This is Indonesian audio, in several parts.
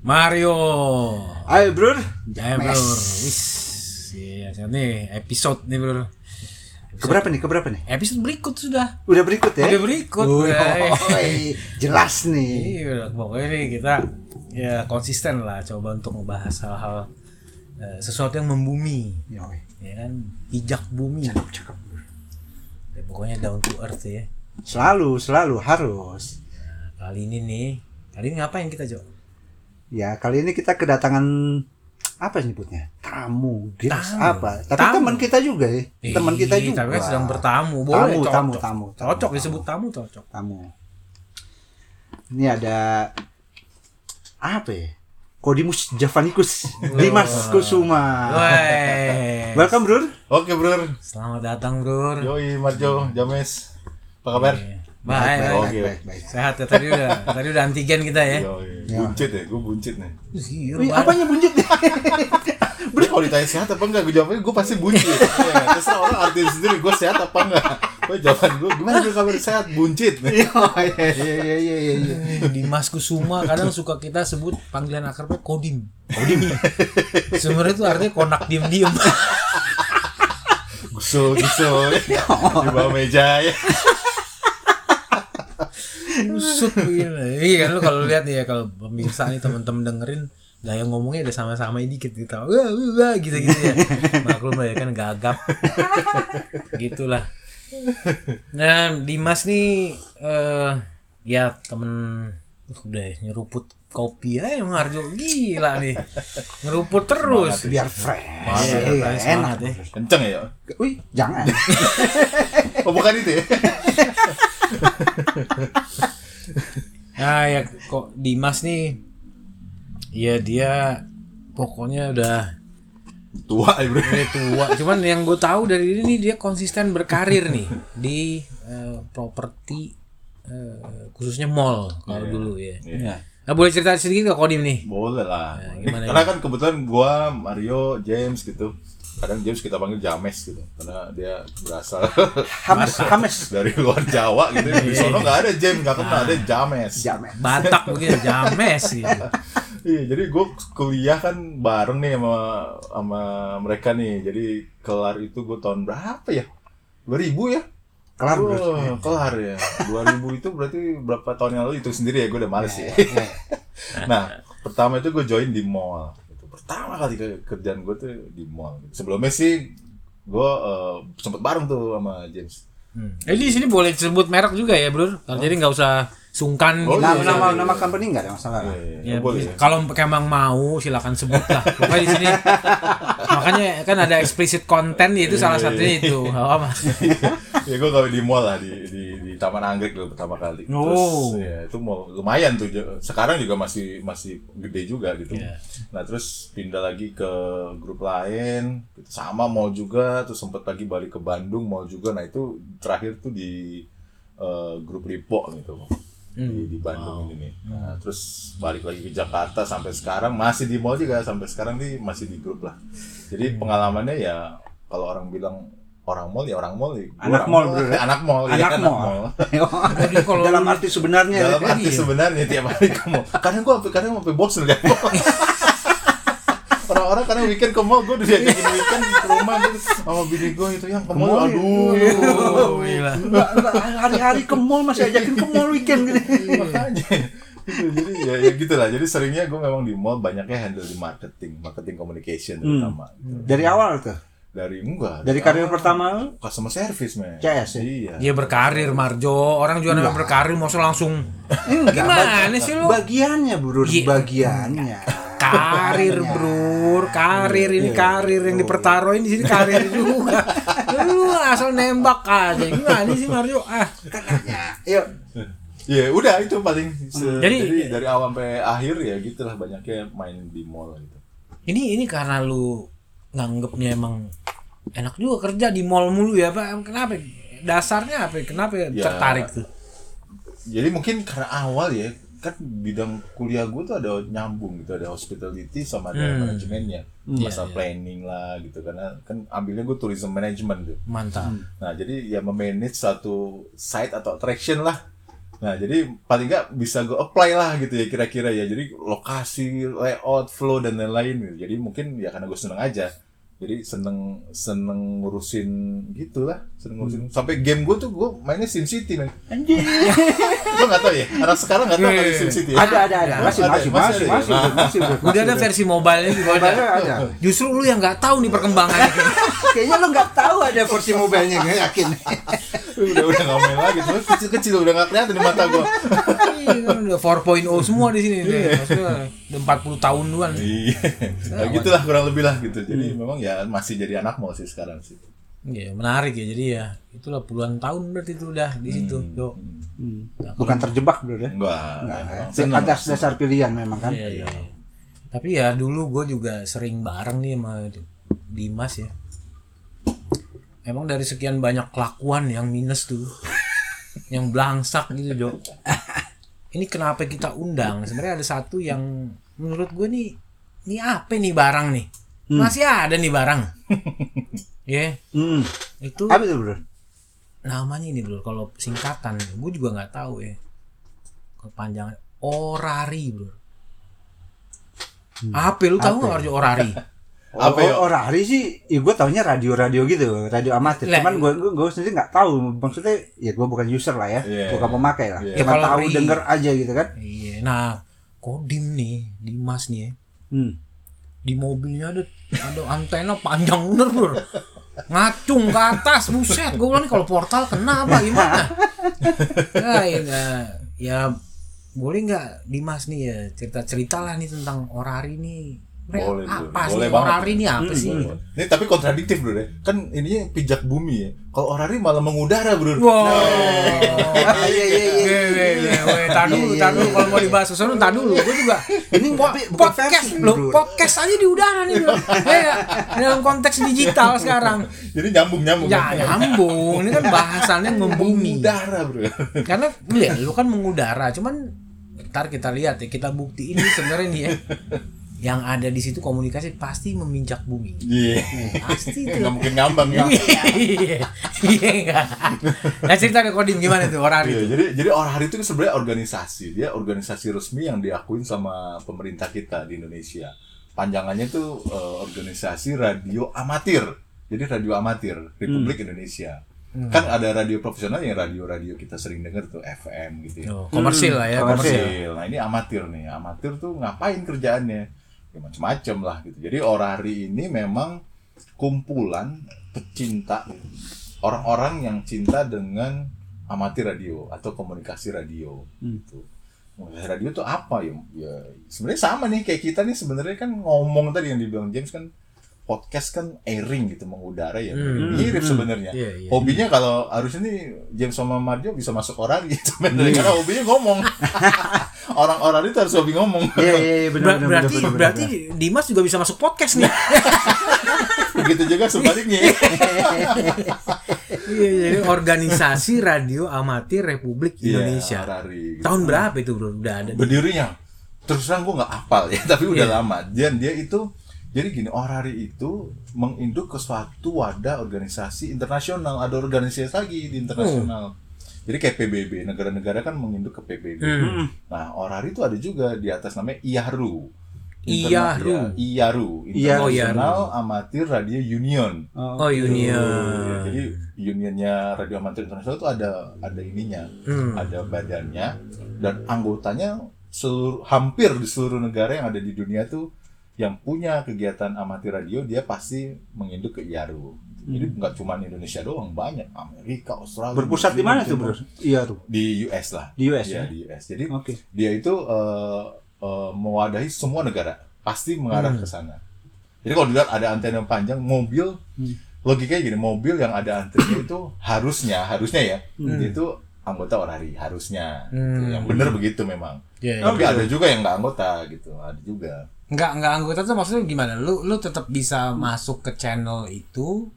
Mario. Ayo bro Jaya bro. Wis. Iya, saat nih episode nih bro. Keberapa nih keberapa nih Episode berikut sudah. Udah berikut ya Udah berikut, Woi, Bray. Jelas nih Iya, pokoknya nih kita ya konsisten lah coba untuk ngebahas hal-hal eh, sesuatu yang membumi, Yoi, ya kan pijak bumi. Cakep cakep Ya, pokoknya down to earth ya. Selalu selalu harus Nah, kali ini nih, kali ini ngapain kita Jo? Ya kali ini kita kedatangan Apa nyebutnya Tamu Guest Tamu. apa Tapi Tamu. teman kita juga ya Teman kita Ih, juga Tapi kan sedang bertamu, boleh Tamu, cocok. tamu, tamu, tamu, cocok tamu. disebut tamu cocok. Tamu Ini ada Apa ya Kodimus Javanicus Dimas Kusuma Woi. Ah. Welcome bro Oke brother, Selamat datang, Bro. Yoi Marjo, James, apa kabar? Iya. Baik, baik, baik. baik, Oke. baik, baik. Sehat ya tadi udah. Tadi udah antigen kita ya. Yoi, buncit ya, gue buncit nih. Iya, Wih, Bang. apanya bunjuk Gue kalau ditanya sehat apa enggak, gue jawabnya gue pasti buncit. ya, terserah orang arti sendiri, gue sehat apa enggak. Gue jawaban gue, gimana gue kabar sehat, buncit. Iya, iya, iya, iya, iya, iya, iya. Dimas Kusuma kadang suka kita sebut panggilan akrabnya Kodim. Kodim. Sebenarnya itu artinya konak diem-diem. Gusul, gusul, di bawah meja ya. Usut begini. Iya kan lu kalau lihat nih ya kalau pemirsa nih teman-teman dengerin gaya ngomongnya ada sama-sama dikit gitu. Wah, wah, wah, gitu-gitu ya. Maklum lah ya kan gagap. Gitulah. Nah, Dimas nih eh ya temen udah ya, nyeruput kopi aja Bang Arjo gila nih. Ngeruput terus. Biar fresh. Iya, Iya, iya, semangat enak. ya. Kenceng ya, Wih, jangan. oh bukan itu ya? Nah ya kok Dimas nih Ya dia pokoknya udah Tua ya bro. udah tua Cuman yang gue tahu dari ini nih, dia konsisten berkarir nih Di eh, properti eh, khususnya mall kalau dulu ya Iya. Nah boleh cerita sedikit ke Kodim nih Boleh lah. gimana Karena kan kebetulan gua, Mario, James gitu. Kadang James kita panggil James gitu. Karena dia berasal Hames, Hames. dari luar Jawa gitu. Di sono nggak ada James, nggak kenal ada James. Jangan. Batak begitu James gitu Iya, jadi gue kuliah kan bareng nih sama sama mereka nih. Jadi kelar itu gue tahun berapa ya? 2000 ya? Kelar, bro. Wah, kelar ya. 2000 itu berarti berapa tahun yang lalu itu sendiri ya? Gue udah males ya. nah, pertama itu gue join di mall. Itu pertama kali ke- kerjaan gue tuh di mall. Sebelumnya sih gue eh, sempet bareng tuh sama James. Hmm. Eh, di sini boleh sebut merek juga ya bro Kalau Jadi nggak usah sungkan Oh, gitu. Nah, iya, nama, iya. nama company nggak ada masalah. Iya, Ya, iya, boleh. ya? kalau emang mau silakan sebut lah. Pokoknya di sini makanya kan ada explicit content ya, itu salah Iya, satunya itu. Oh, Mas. ya gue kalau di mall lah di, di, di Taman Anggrek dulu pertama kali. Oh. Terus ya, itu mall lumayan tuh. Sekarang juga masih masih gede juga gitu. Nah terus pindah lagi ke grup lain, sama mall juga. Terus sempet lagi balik ke Bandung mall juga. Nah itu terakhir tuh di eh, grup Lipo gitu. Hmm. Di, di Bandung ini nih. Nah, terus balik lagi ke Jakarta sampai sekarang masih di mall juga sampai sekarang nih masih di grup lah. Hmm. Jadi pengalamannya ya kalau orang bilang orang mall ya orang mall ya gua Anak orang mall, bro. anak mall ya, Anak mall. Iya, kalau- Dalam arti sebenarnya. dalam arti sebenarnya tiap hari ke mall kadang gua sampai- kadang sampai bosen lihat mall. orang-orang kadang weekend ke mall gua udah diajakin weekend ke rumah gitu sama bini gua itu yang ke mall aduh iya. Oh, iya. gila. Nggak, nggak, Hari-hari ke mall masih ajakin ke mall weekend gitu. makanya Gitu, jadi ya, ya gitu lah jadi seringnya gua memang di mall banyaknya handle di marketing marketing communication terutama gitu. Dari awal tuh, dari enggak dari karir pertama, customer service man CS, ya? iya Dia berkarir Marjo, orang juga namanya berkarir mau langsung gimana sih lu? bagiannya bro, Iya. bagiannya. Karir bro, karir ini karir yang dipertaruhin di sini karir juga. Lu asal nembak aja. Gimana sih Marjo? Ah, Kan Yuk, Ya udah itu paling Se- Jadi- jadi, dari awal sampai akhir ya gitulah banyaknya main di mall gitu. Ini ini karena lu nganggepnya emang enak juga kerja di mall mulu ya, Pak. Kenapa? Dasarnya apa? Kenapa Ya. tertarik tuh? Jadi mungkin karena awal ya kan bidang kuliah gue tuh ada nyambung gitu ada hospitality sama ada manajemennya masa planning lah gitu karena kan ambilnya gue tourism management tuh. Mantap. Nah jadi ya memanage satu site atau attraction lah Nah, jadi paling nggak bisa gue apply lah gitu ya kira-kira ya. Jadi lokasi, layout, flow dan lain-lain. gitu. Jadi mungkin ya karena gue seneng aja. Jadi seneng seneng ngurusin gitu lah, seneng ngurusin. Sampai game gue tuh gue mainnya SimCity men. Anjir. lo nggak tahu ya? Anak sekarang nggak tahu kali SimCity. Ya? Ada ada ada. Masih Ada, masih masih masih ada ya? masih masih, masih, masih. Udah ada versi mobile-nya juga ada. Ada, ada. Justru lu yang nggak tahu nih perkembangannya. Kayaknya lo nggak tahu ada versi mobilnya nggak yakin. udah udah nggak main lagi, terus kecil-kecil udah nggak kelihatan di mata gue. Iya, kan udah 4.0 semua di sini deh. Maksudnya udah 40 tahun duluan. Iya, nah, gitulah kurang lebih lah gitu. Jadi memang ya masih jadi anak mau sih sekarang sih. Iya, menarik ya. Jadi ya itulah puluhan tahun berarti itu udah di situ. Yo. Hmm. Bukan terjebak bro deh. Enggak, emang seneng. Ada dasar pilihan memang kan. Iya, iya. iya. Tapi ya dulu gue juga sering bareng nih sama Dimas ya. Emang dari sekian banyak kelakuan yang minus tuh, yang belangsak gitu dok. Ini kenapa kita undang? Sebenarnya ada satu yang menurut gue nih, ini apa nih barang nih? Masih ada nih barang. Ya, Hmm. itu Apa itu bro? namanya ini bro. Kalau singkatan, gue juga nggak tahu ya. Kepanjangan orari bro. Apa lu tahu nggak arti orari? Apa ya? Oh, orari sih, ya gue taunya radio-radio gitu, radio amatir. Lah. Cuman gue gue sendiri nggak tahu maksudnya, ya gue bukan user lah ya, Iya. bukan pemakai lah. Iya. Cuma Ya, kalau tahu ri- denger aja gitu kan. Iya. Nah, Kodim nih, Dimas nih ya. Hmm. Di mobilnya ada ada antena panjang bener bro. Ngacung ke atas, buset. Gue bilang nih kalau portal kenapa gimana? Nah, ya, nah, ya boleh nggak Dimas nih ya cerita ceritalah nih tentang orari nih. Re- Boleh, apa boleh. sih Boleh banget. Hmm, orari nih apa sih? Boleh, boleh. Ini tapi kontradiktif bro deh. Kan ininya pijak bumi ya. Kalau orari malah mengudara bro. Wow. Ah, iya iya iya. Weh, weh, weh, weh, tar dulu, tar dulu kalau mau dibahas sesuatu, tar dulu. Gue juga Ini tapi bukan podcast versi, lo, Bro. podcast aja di udara nih. Bro. Iya, dalam konteks digital sekarang. Jadi nyambung nyambung. Ya nyambung, ini kan bahasannya membumi. Mengudara bro. Karena lu ya, lu kan mengudara, cuman ntar kita lihat ya, kita buktiin nih sebenarnya nih ya. Yang ada di situ komunikasi pasti meminjak bumi. Iya. Pasti itu. Nggak mungkin ngambang ya. Iya, iya enggak. Nah cerita deh Kodim gimana tuh orang itu? Iya, jadi jadi orari itu kan sebenarnya organisasi. Dia organisasi resmi yang diakuin sama pemerintah kita di Indonesia. Panjangannya itu eh, organisasi radio amatir. Jadi radio amatir Hmm. Republik Indonesia. Kan ada radio profesional yang radio-radio kita sering dengar tuh FM gitu ya. Oh, komersil lah ya, Hmm, komersil. komersil. Nah ini amatir nih, amatir tuh ngapain kerjaannya? Ya macam-macam lah gitu. Jadi orari ini memang kumpulan pecinta orang-orang yang cinta dengan amatir radio atau komunikasi radio. Hmm. Gitu. Komunikasi radio tuh apa ya? Ya sebenarnya sama nih kayak kita nih sebenarnya kan ngomong tadi yang dibilang James kan podcast kan airing gitu mengudara ya mirip sebenarnya Hmm. Iya, iya. hobinya kalau harusnya nih James sama Mario bisa masuk orang gitu sebenarnya karena hobinya ngomong orang-orang itu harus hobi ngomong Iya iya iya Ber- benar benar. berarti benar, benar, berarti benar. Dimas juga bisa masuk podcast nih. begitu juga sebaliknya Iya, jadi organisasi radio amatir Republik Iya, Indonesia. Orari, gitu. Tahun berapa itu bro? Udah ada. berdirinya terus terang gue nggak hafal ya tapi udah lama dan dia itu jadi gini orari itu menginduk ke suatu wadah organisasi internasional ada organisasi lagi di internasional jadi kayak PBB negara-negara kan menginduk ke PBB nah orari itu ada juga di atas namanya IARU IARU. Interna- ya, IARU IARU. International Amatir Radio Union Oh, Iya, Union. jadi unionnya Radio Amatir Internasional itu ada ada ininya, Hmm. ada badannya dan anggotanya seluruh hampir di seluruh negara yang ada di dunia tuh yang punya kegiatan amatir radio dia pasti menginduk ke IARU. Jadi nggak cuma Indonesia doang, banyak Amerika, Australia. Hmm. Berpusat di mana tuh bro? Iya tuh. Di US lah. Di US, Iya, ya? di US. Jadi Oke. dia itu eh, eh, mewadahi semua negara pasti mengarah Hmm. ke sana jadi kalau dilihat ada antena panjang mobil Hmm. logikanya gini mobil yang ada antena itu harusnya harusnya ya Hmm. itu anggota orari harusnya gitu. yang benar begitu memang Iya, iya. tapi ada juga yang nggak anggota gitu ada juga Enggak enggak anggota tuh maksudnya gimana? Lu lu tetap bisa masuk ke channel itu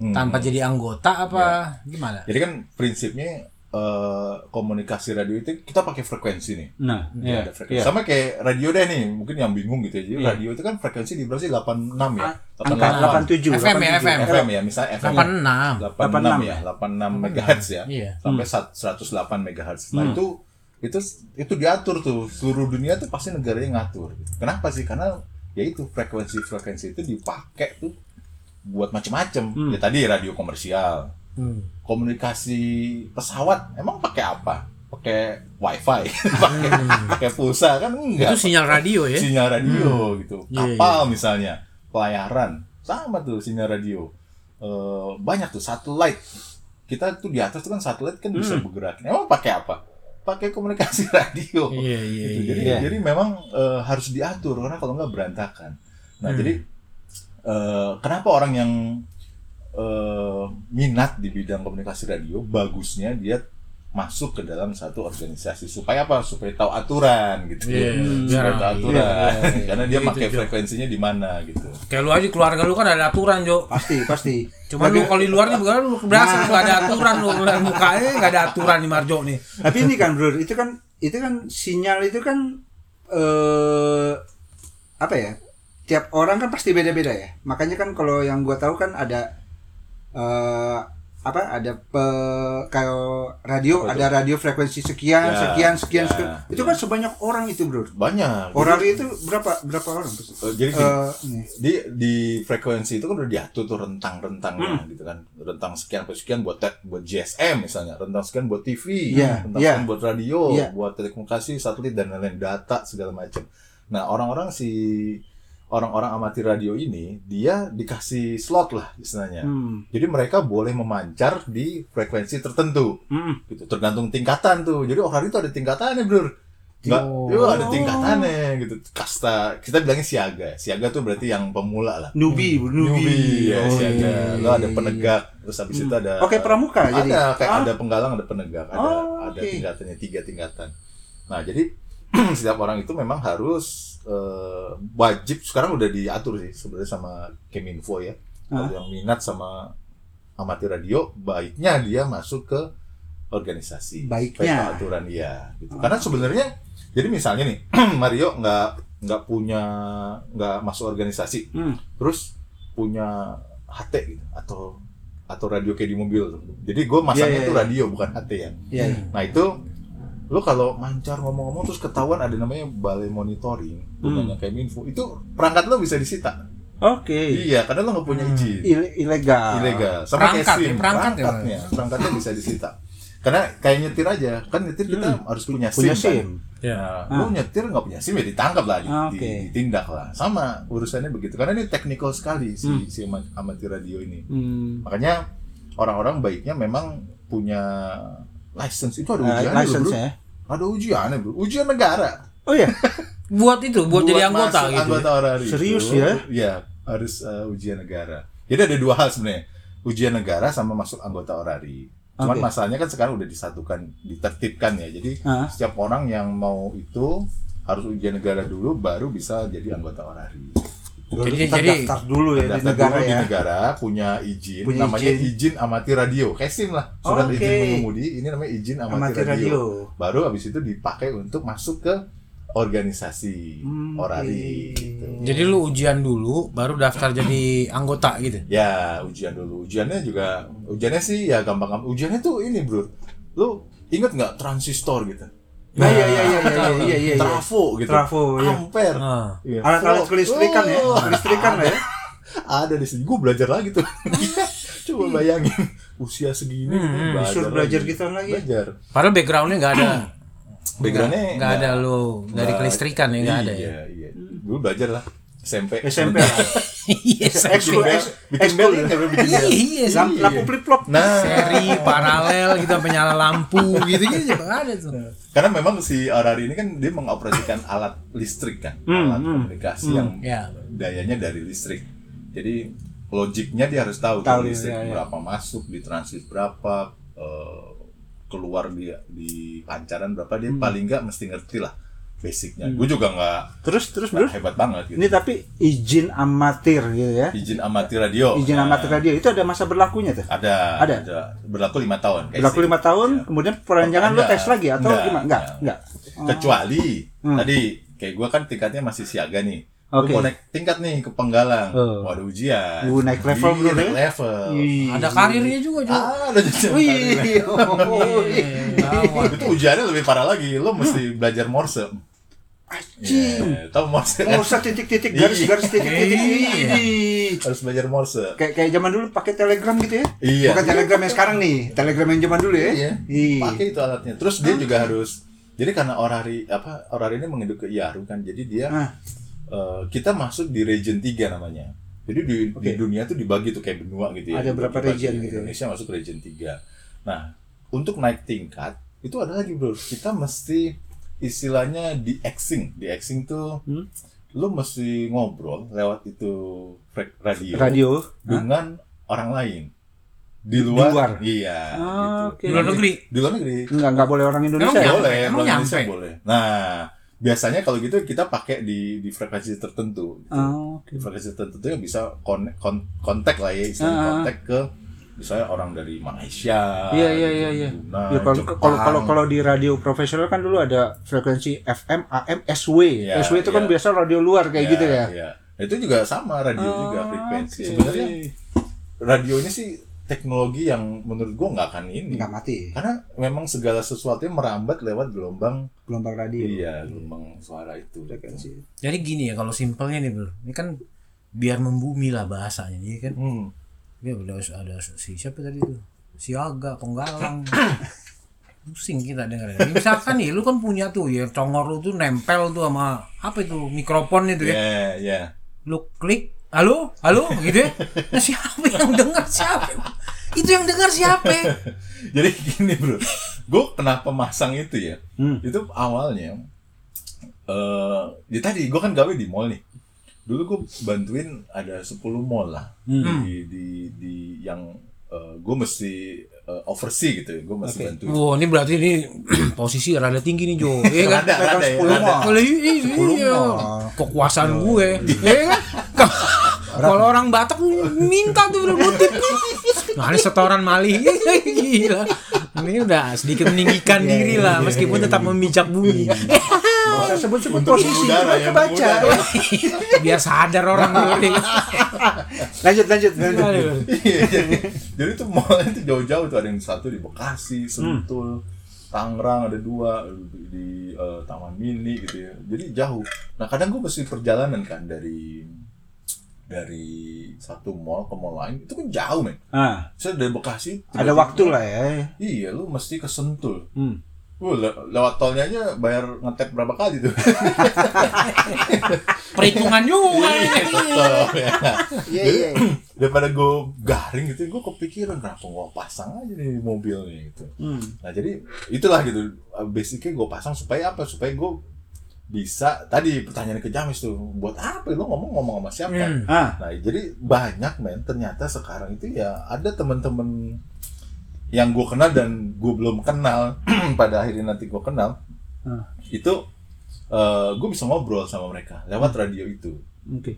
Hmm. tanpa jadi anggota apa gimana? Jadi kan prinsipnya eh, komunikasi radio itu kita pakai frekuensi nih. Nah, iya. Ada frekuensi. iya. Sama kayak radio deh nih, mungkin yang bingung gitu ya. Jadi radio itu kan frekuensi di Brasil 86 ya? Angka 87. FM ya, 87. FM. 86. FM ya, misalnya FM. 86. 86 ya, 86 MHz ya. Iya. Sampai sat- 108 MHz. Nah, itu itu itu diatur tuh seluruh dunia tuh pasti negaranya ngatur. Kenapa sih? Karena ya itu frekuensi-frekuensi itu dipakai tuh buat macam-macam. Ya tadi radio komersial, Hmm. komunikasi pesawat emang pakai apa? Pakai wifi, pakai pakai pulsa kan enggak. Hmm. Itu sinyal radio ya. sinyal radio gitu. Iya, Kapal misalnya, pelayaran sama tuh sinyal radio. Eh, banyak tuh satelit. Kita tuh di atas tuh kan satelit kan bisa Hmm. bergerak. Emang pakai apa? Pakai komunikasi radio. Iya, iya, Gitu. Jadi iya. jadi memang eh, harus diatur karena kalau nggak berantakan. Hmm. Nah, jadi eh, kenapa orang yang eh, minat di bidang komunikasi radio bagusnya dia masuk ke dalam satu organisasi supaya apa supaya tahu aturan gitu Iya, supaya iya, tahu iya, aturan iya, iya. karena dia Gitu, pakai Jo. frekuensinya di mana gitu Kayak lu aja keluarga lu kan ada aturan, Jo. Pasti, pasti. Cuma lu kalau di luarnya bukan lu berasa lu gak ada aturan lu Lihat mukanya gak ada aturan di Marjo nih. Tapi ini kan, Bro, itu kan itu kan sinyal itu kan eh apa ya? Tiap orang kan pasti beda-beda ya. Makanya kan kalau yang gua tahu kan ada eh apa? Ada pe, kalau radio Apa tuh? ada radio frekuensi sekian, Ya, sekian, sekian, ya. sekian. Itu kan sebanyak orang itu, Bro. banyak Orang itu berapa berapa orang? Eh, jadi gini, Eh, ini. di di frekuensi itu kan udah diatur tuh rentang-rentangnya gitu kan rentang sekian sampai sekian buat te- buat GSM misalnya rentang sekian buat TV Iya, rentang iya. sekian buat radio Iya. buat telekomunikasi satelit dan lain-lain data segala macam nah orang-orang si orang-orang amatir radio ini dia dikasih slot lah istilahnya Hmm. jadi mereka boleh memancar di frekuensi tertentu Hmm. gitu tergantung tingkatan tuh jadi orang itu ada tingkatannya bro Nggak, Oh. iya, ada tingkatannya gitu kasta kita bilangnya siaga siaga tuh berarti yang pemula lah Nubi, Bu, nubi. newbie Oh, ya siaga iya, iya, lo ada iya. penegak terus habis itu ada Hmm. Oke, pramuka ada jadi. kayak Ah. ada penggalang ada penegak ada Oh, ada oke. tingkatannya tiga tingkatan nah jadi setiap orang itu memang harus eh, wajib sekarang udah diatur sih sebenarnya sama Keminfo ya kalau yang minat sama amatir radio baiknya dia masuk ke organisasi Baiknya. Ah. Supaya tahu aturan ya gitu. karena sebenarnya jadi misalnya nih Mario nggak nggak punya nggak masuk organisasi Hmm. terus punya HT gitu atau atau radio kayak di mobil tuh. jadi gue masangnya Iya, iya, tuh iya. radio bukan HT ya Iya. iya. nah itu lu kalau mancar ngomong-ngomong terus ketahuan ada namanya balai monitoring namanya kayak info itu perangkat lo bisa disita Oke. iya karena lo nggak punya izin Ile- Ilegal. ilegal sama Perangkat ya, kayak SIM, perangkat ya, perangkatnya perangkatnya bisa disita karena kayak nyetir aja kan nyetir kita harus punya sim, Punya kan? SIM. Ya. Nah, lu nyetir nggak punya sim ya ditangkap lah, di- Ah, di- oke. ditindak lah. Sama urusannya begitu karena ini teknikal sekali si, si ama- amatir radio ini. Hmm. Makanya orang-orang baiknya memang punya license itu ada Eh, ujiannya loh, license bro. ya. Ada ujiannya bro, ujian negara. Oh ya. Buat itu, buat, jadi anggota masuk gitu. anggota orari itu, Serius ya? Iya, harus eh, ujian negara. Jadi ada dua hal sebenarnya. Ujian negara sama masuk anggota orari. Cuman Oke. masalahnya kan sekarang udah disatukan, ditertibkan ya. Jadi Ah. setiap orang yang mau itu harus ujian negara dulu baru bisa jadi anggota orari. Jadi, Jadi- kita jadi- daftar dulu ya di Daftar negara dulu ya. di negara punya izin Punya namanya izin. izin. amatir radio. Kayak SIM lah, surat Oke. izin mengemudi ini namanya izin amatir, Amatir radio. radio. Baru habis itu dipakai untuk masuk ke organisasi Hmm, orari oke. gitu. Jadi lu ujian dulu baru daftar jadi anggota gitu. Ya, ujian dulu. Ujiannya juga ujiannya sih ya gampang-gampang. Ujiannya tuh ini, Bro. Lu inget nggak transistor gitu? Nah, iya iya iya iya iya, iya iya. Trafo gitu. Trafo, iya. Ampere. Ah. Iya. Alat-alat Volt. kelistrikan ya, Oh, kelistrikan lah ya. Ada di sini. Gue belajar lagi tuh. Coba bayangin usia segini gitu, Hmm, disuruh belajar lagi. gitu lagi. Belajar. Padahal backgroundnya nggak ada. Backgroundnya nggak ada lu dari kelistrikan ya nggak ada ya. Iya, iya. Dulu belajar lah SMP. SMP lah. Iya. Bikin Ekskul, bel, eks- bikin ekskul bel ini ya. apa, bikin bel. Iya. Lam- Lampu flip-flop. Nah, Seri paralel gitu sampai nyala lampu gitu gitu nggak ada tuh. Karena memang si Orari ini kan dia mengoperasikan alat listrik kan, alat komunikasi yang Ya. dayanya dari listrik. Jadi logiknya dia harus tahu, tuh Tahu, listrik ya, ya. berapa masuk, di transit berapa, eh, keluar di di pancaran berapa dia paling nggak mesti ngerti lah basicnya. Gue juga nggak Terus terus bro. nggak hebat banget gitu. Ini tapi izin amatir gitu ya. Izin amatir radio. Izin Nah, amatir radio itu ada masa berlakunya tuh. Ada, Ada. Berlaku lima tahun. guys. Berlaku lima tahun, kemudian peranjangan lo Enggak. tes lagi atau Enggak, gimana? Enggak, enggak. enggak. Kecuali tadi kayak gue kan tingkatnya masih siaga nih. Gue Hmm. Oke. mau naik tingkat nih ke Penggalang. Oh. Mau ada ujian. Uh, naik level Iya, bro, naik ya? level. Ih. Ada karirnya juga juga. Ah, ada ujian. Wih, oh, wih. Gawat. Itu ujiannya lebih parah lagi. Lo Hmm. mesti belajar Morse. Anjing. Iya, Tahu Morse? kan? Nggak usah titik-titik garis-garis titik-titik. Iya. Ih. Harus belajar Morse. Kayak kayak zaman dulu pakai Telegram gitu ya. Iya. Bukan Telegram yang sekarang nih, Telegram yang zaman dulu ya. Iya. Ih. Pakai itu alatnya. Terus dia juga harus jadi karena orari apa orari ini menginduk ke IARU kan. Jadi dia Ah. eh, kita masuk di region 3 namanya. Jadi di, di dunia tuh dibagi tuh kayak benua gitu ya. Ada berapa Dibagi-bagi. region gitu ya? Indonesia masuk ke region 3. Nah, untuk naik tingkat itu ada lagi bro. Kita mesti istilahnya di exing. Di exing tuh Hmm? lu mesti ngobrol lewat itu frek- Radio. dengan orang lain di luar, Di luar? iya Ah, gitu. Di luar negeri? di luar negeri Enggak, enggak boleh orang Indonesia. Emang ya? nyampe? boleh Emang luar Indonesia nyampe? boleh nah biasanya kalau gitu kita pakai di di frekuensi tertentu gitu. Ah, oke. di frekuensi tertentu yang bisa konek- kon- kontak lah ya istilahnya Ah, ah. kontak ke misalnya orang dari Malaysia Iya iya iya iya. Brunei, Ya, kalau Jepang. kalau kalau kalau di radio profesional kan dulu ada frekuensi FM, AM, SW. Iya, SW itu kan iya. biasa radio luar kayak Iya, gitu ya. Ah, Oh, iya. itu juga sama radio juga frekuensi Oke. sebenarnya radionya sih teknologi yang menurut gua nggak akan ini nggak mati. karena memang segala sesuatu merambat lewat gelombang Gelombang radio. Iya, gelombang suara itu. Frekuensi. Jadi gini ya kalau simpelnya nih bro, ini kan biar membumi lah bahasanya, jadi kan Hmm. ya udah ada si siapa tadi itu siaga penggalang pusing kita dengerin Ini misalkan nih lu kan punya tuh ya congor lu tuh nempel tuh sama apa itu mikrofon itu ya Ya, ya. lu klik halo halo gitu ya nah, siapa yang denger siapa itu yang denger siapa Jadi gini, Bro. Gue kenapa masang itu ya? Hmm. Itu awalnya eh ya tadi gue kan gawe di mall nih. Dulu gue bantuin ada 10 mall lah Hmm. di, di di yang gue mesti eh, oversee gitu ya. Gue mesti bantuin. wah ini berarti ini posisi rada tinggi nih Jo iya kan Ada, ada, ya, 10 ada. mall. kalau ini iya kekuasaan gue iya kan kalau orang Batak minta tuh udah ngutip nah ini setoran mali Iya, gila ini udah sedikit meninggikan diri lah meskipun tetap memijak bumi Nggak usah sebut-sebut Untuk posisi, udara cuma yang kebaca. ya. udara. biar sadar orang dulu Lanjut lanjut lanjut. Iya, jadi, jadi tuh mallnya tuh jauh-jauh tuh ada yang satu di Bekasi, Sentul, Tangerang ada dua di, di, eh, Taman Mini gitu ya. Jadi jauh. Nah kadang gue mesti perjalanan kan dari dari satu mall ke mall lain itu kan jauh men. Ah, Saya dari Bekasi ada tiba-tiba- waktu lah ya. Iya, lu mesti ke Sentul. Hmm. Wah, le- lewat tolnya aja bayar ngetep berapa kali tuh. perhitungan juga Iya. Betul, ya. Iya, Jadi, iya, daripada gue garing gitu gue kepikiran kenapa gue pasang aja nih mobilnya gitu Hmm. nah jadi itulah gitu basicnya gue pasang supaya apa supaya gue bisa tadi pertanyaan ke James tuh buat apa lo ngomong ngomong sama siapa Hmm. Ah, nah jadi banyak men ternyata sekarang itu ya ada temen-temen yang gue kenal dan gue belum kenal pada akhirnya nanti gue kenal Hmm. itu gue bisa ngobrol sama mereka lewat Hmm. radio itu oke.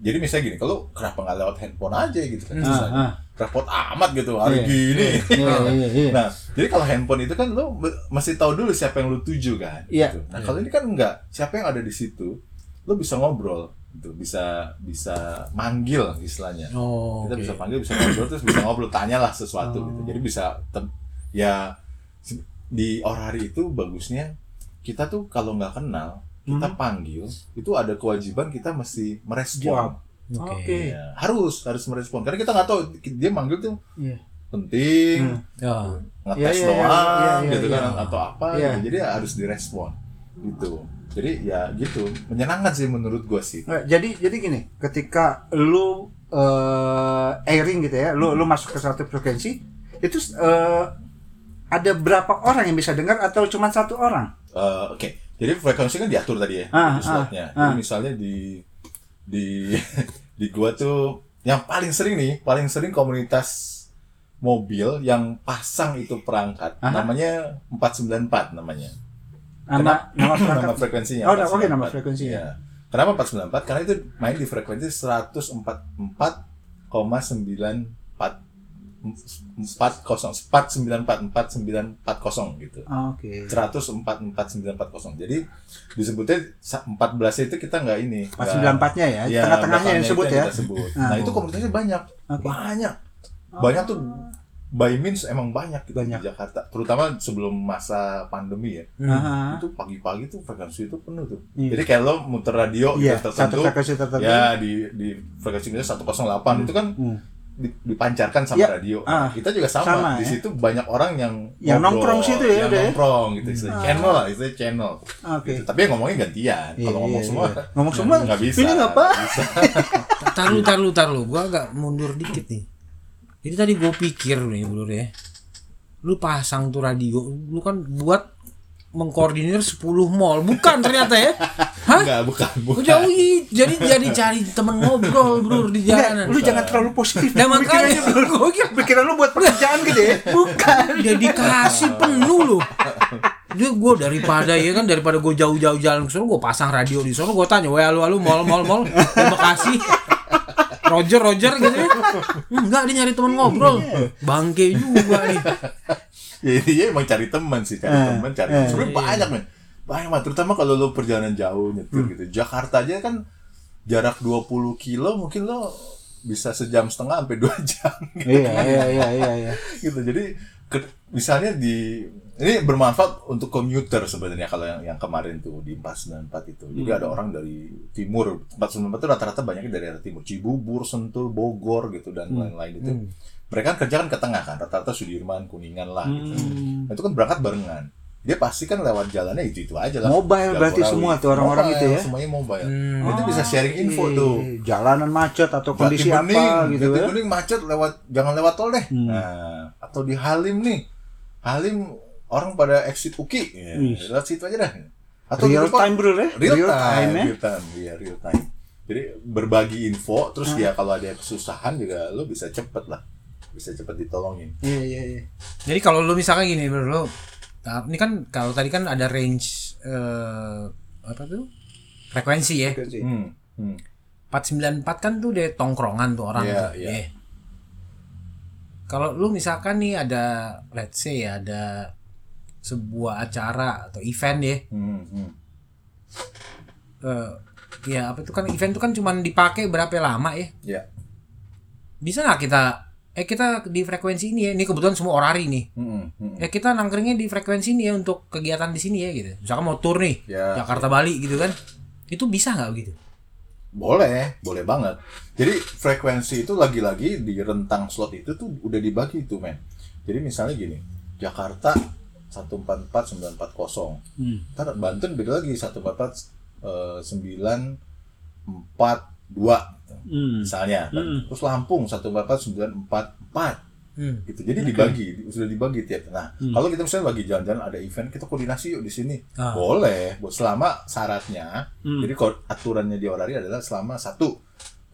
jadi misalnya gini kalau kenapa nggak lewat handphone aja gitu kan Ah, misalnya. ah. repot amat gitu Iya. hari gini Iya, iya, iya. nah jadi kalau handphone itu kan lo be- mesti tahu dulu siapa yang lo tuju kan Iya. gitu. nah kalau ini kan enggak siapa yang ada di situ lo bisa ngobrol gitu bisa bisa manggil istilahnya oh kita oke. bisa panggil bisa ngobrol terus bisa ngobrol tanyalah sesuatu gitu jadi bisa tem- ya se- di orari itu bagusnya kita tuh kalau nggak kenal kita panggil itu ada kewajiban kita mesti merespon Jawab. oke Iya, harus harus merespon karena kita nggak tahu dia manggil tuh Iya. penting ya Iya, iya, ngetes doang iya, iya, gitu iya. kan atau apa Iya. gitu. jadi harus direspon gitu jadi ya gitu menyenangkan sih menurut gua sih Nggak, Eh, jadi jadi gini, ketika lu eh, airing gitu ya, lu lu masuk ke satu frekuensi, itu eh, ada berapa orang yang bisa dengar atau cuma satu orang? Eh, oke jadi frekuensi kan diatur tadi ya Ah, di slotnya ah, jadi misalnya di di di gua tuh yang paling sering nih paling sering komunitas mobil yang pasang itu perangkat namanya 494 namanya nama nama surat nama frekuensinya. Oh, oke, 494. nama frekuensinya. Iya. Kenapa 494? Karena itu main di frekuensi 144,94 494 4944 gitu. Ah, oke 144,940. Jadi disebutnya sa- 14 itu kita nggak ini. empat sembilan empatnya ya Iya, tengah-tengahnya yang belakangnya disebut itu ya kita sebut. Ah. Nah, itu komunitasnya banyak. Oke. Banyak. Banyak tuh by means emang banyak gitu Banyak. di Jakarta, terutama sebelum masa pandemi ya. Aha. Itu pagi-pagi tuh frekuensi itu penuh tuh. Iya. Jadi kayak lo muter radio iya gitu satu tertentu, frekuensi tertentu ya di di frekuensi misalnya 108 itu kan Hmm. di- dipancarkan sama Ya, radio. ah, kita juga sama. sama, di ya. situ banyak orang yang Yang ngobrol, nongkrong situ ya, yang udah ya. nongkrong gitu istilahnya channel lah, istilahnya channel. oke Gitu. Tapi yang ngomongnya gantian. Kalau Iya, ngomong iya, semua ya, iya. ngomong semua nggak bisa. ini ngapa nggak bisa. Tar lu, tar lu, tar lu. Gua agak mundur dikit nih. Jadi tadi gua pikir nih, Blur ya. Lu pasang tuh radio, lu kan buat mengkoordinir 10 mall. Bukan ternyata ya. Hah? Enggak, bukan, bukan. Jauh i- jadi jadi cari temen ngobrol, Blur di Enggak, jalanan. lu jangan terlalu positif Nah, makanya Pikirannya- gua kira pikiran lu buat pekerjaan gitu ya bukan dedikasi penuh loh dia gue daripada ya kan daripada gue jauh-jauh jalan ke gue pasang radio di sono gue tanya wah lu lu mall mall mall terima kasih Roger Roger gitu ya enggak dia nyari teman ngobrol bangke juga nih ya intinya emang cari teman sih cari Eh, teman cari eh. sebenarnya banyak men banyak banget terutama kalau lo perjalanan jauh nyetir Hmm. gitu Jakarta aja kan jarak 20 kilo mungkin lo bisa sejam setengah sampai dua jam gitu, iya iya iya iya iya gitu. jadi ke- misalnya di ini bermanfaat untuk komuter sebenarnya kalau yang yang kemarin tuh di 494 itu Hmm. jadi ada orang dari timur 494 itu rata-rata banyaknya dari arah timur Cibubur Sentul Bogor gitu dan Hmm. lain-lain itu mereka kan kerja kan ke tengah kan rata-rata Sudirman Kuningan lah gitu. Hmm. Nah, itu kan berangkat barengan. Dia pasti kan lewat jalannya itu itu aja lah. Mobile berarti Jagorawi. semua tuh orang-orang Mobile, itu ya? Semuanya mobile. Hmm. Itu bisa sharing info tuh. Iya, jalanan macet atau kondisi Jati Bening, apa gitu Jati ya Hmm. Bening macet lewat jangan lewat tol deh. Nah, atau di Halim nih. Halim orang pada exit UKI. Ya, lewat situ aja dah. Atau di real depan- time bro ya ya real, time, real time, iya real time. Jadi berbagi Ah. info, terus ya kalau ada kesusahan juga lo bisa cepet lah, bisa cepet ditolongin. iya iya iya jadi kalau lu misalkan gini bro lu nah, ini kan kalau tadi kan ada range eh, apa tuh frekuensi ya Oke, Gitu sih. Hmm, hmm. 494 kan tuh deh tongkrongan tuh orang Iya, tuh. iya. Eh. Kalau lu misalkan nih ada let's say ya, ada sebuah acara atau event ya. Hmm, hmm. eh, ya apa tuh kan event tuh kan cuman dipakai berapa lama ya? Ya. Bisa nggak kita eh kita di frekuensi ini ya. Ini kebetulan semua orari nih. Hmm, hmm. Ya kita nangkringnya di frekuensi ini ya untuk kegiatan di sini ya gitu. Misalkan mau tour nih Ya. Jakarta Bali gitu kan. Itu bisa nggak gitu? Boleh, boleh banget. Jadi frekuensi itu lagi-lagi di rentang slot itu tuh udah dibagi itu, men. Jadi misalnya gini, Jakarta 144940. Hmm. Ntar Banten beda lagi eh, 144942 Hmm. misalnya. Terus Lampung 144944 Hmm. gitu. Jadi dibagi, sudah dibagi tiap. Nah, kalau kita misalnya lagi jalan-jalan ada event, kita koordinasi yuk di sini. Ah. Hmm. Boleh, buat selama syaratnya. Jadi ko- aturannya di Orari adalah selama satu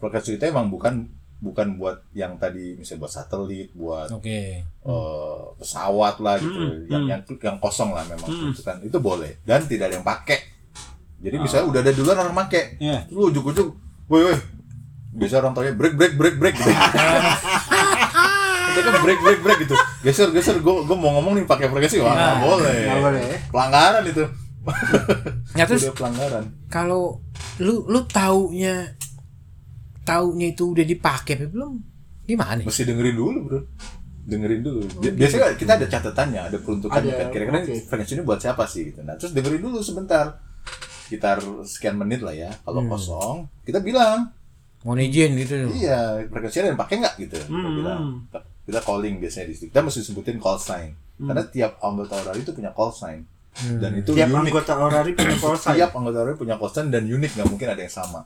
frekuensi itu emang bukan bukan buat yang tadi misalnya buat satelit, buat Oke. eh, pesawat lah gitu, Hmm, yang, yang yang kosong lah memang gitu kan. Itu boleh dan tidak ada yang pakai. Jadi misalnya udah ada duluan orang pakai, Ah. Iya. lu ujuk-ujuk, woi woi, biasa orang tanya break break break break gitu. Kita kan break break break gitu. Geser geser, gue gue mau ngomong nih pakai frekuensi, wah nggak boleh. Iya. Nggak boleh. Pelanggaran itu. Ya terus udah pelanggaran. kalau lu lu taunya taunya itu udah dipakai apa belum gimana nih? Mesti dengerin dulu, bro. Dengerin dulu. Bi- Biasanya kita ada catatannya, ada Oh, gitu. peruntukannya Ada, kan. Kira-kira oke. frekuensi ini buat siapa sih gitu. Nah, terus dengerin dulu sebentar. Sekitar sekian menit lah ya. Hmm. Kalau kosong, kita bilang, mohon izin gitu iya, frekuensi ada yang pakai nggak gitu. Kita Hmm. bilang. Kita- Kita calling biasanya di situ. Kita mesti sebutin call sign. Karena tiap anggota orari itu punya call sign. Dan itu Hmm. tiap unik. anggota orari punya Iya. polsa ya? Tiap anggota orari punya call sign dan unik nggak mungkin ada yang sama.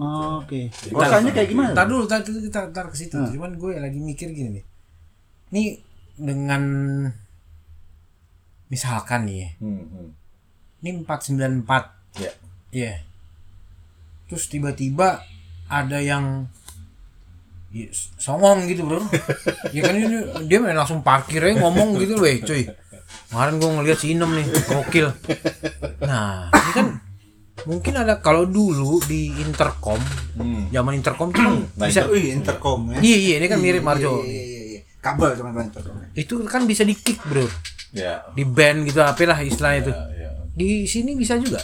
Oh, oke polsanya kayak gimana Ntar dulu, ntar dulu kita ntar ke situ. Cuman gue lagi mikir gini nih. Ini dengan misalkan nih, ya, Hmm, hmm. ini 494. Ya. Iya. Terus tiba-tiba ada yang ya, songong gitu, Bro. ya kan ini dia main langsung parkir aja ngomong gitu, weh, cuy. Kemarin gue ngeliat si Inem nih, gokil. Nah, ini kan mungkin ada kalau dulu di intercom, zaman intercom tuh kan Hmm. Nah, bisa itu- Wih, intercom ya. Iya, iya, ini kan mirip Marjo. Iya, iya, iya, iya. Kabel teman-teman intercom. itu kan bisa di kick bro, ya di band gitu apalah istilahnya itu. ya Di sini bisa juga.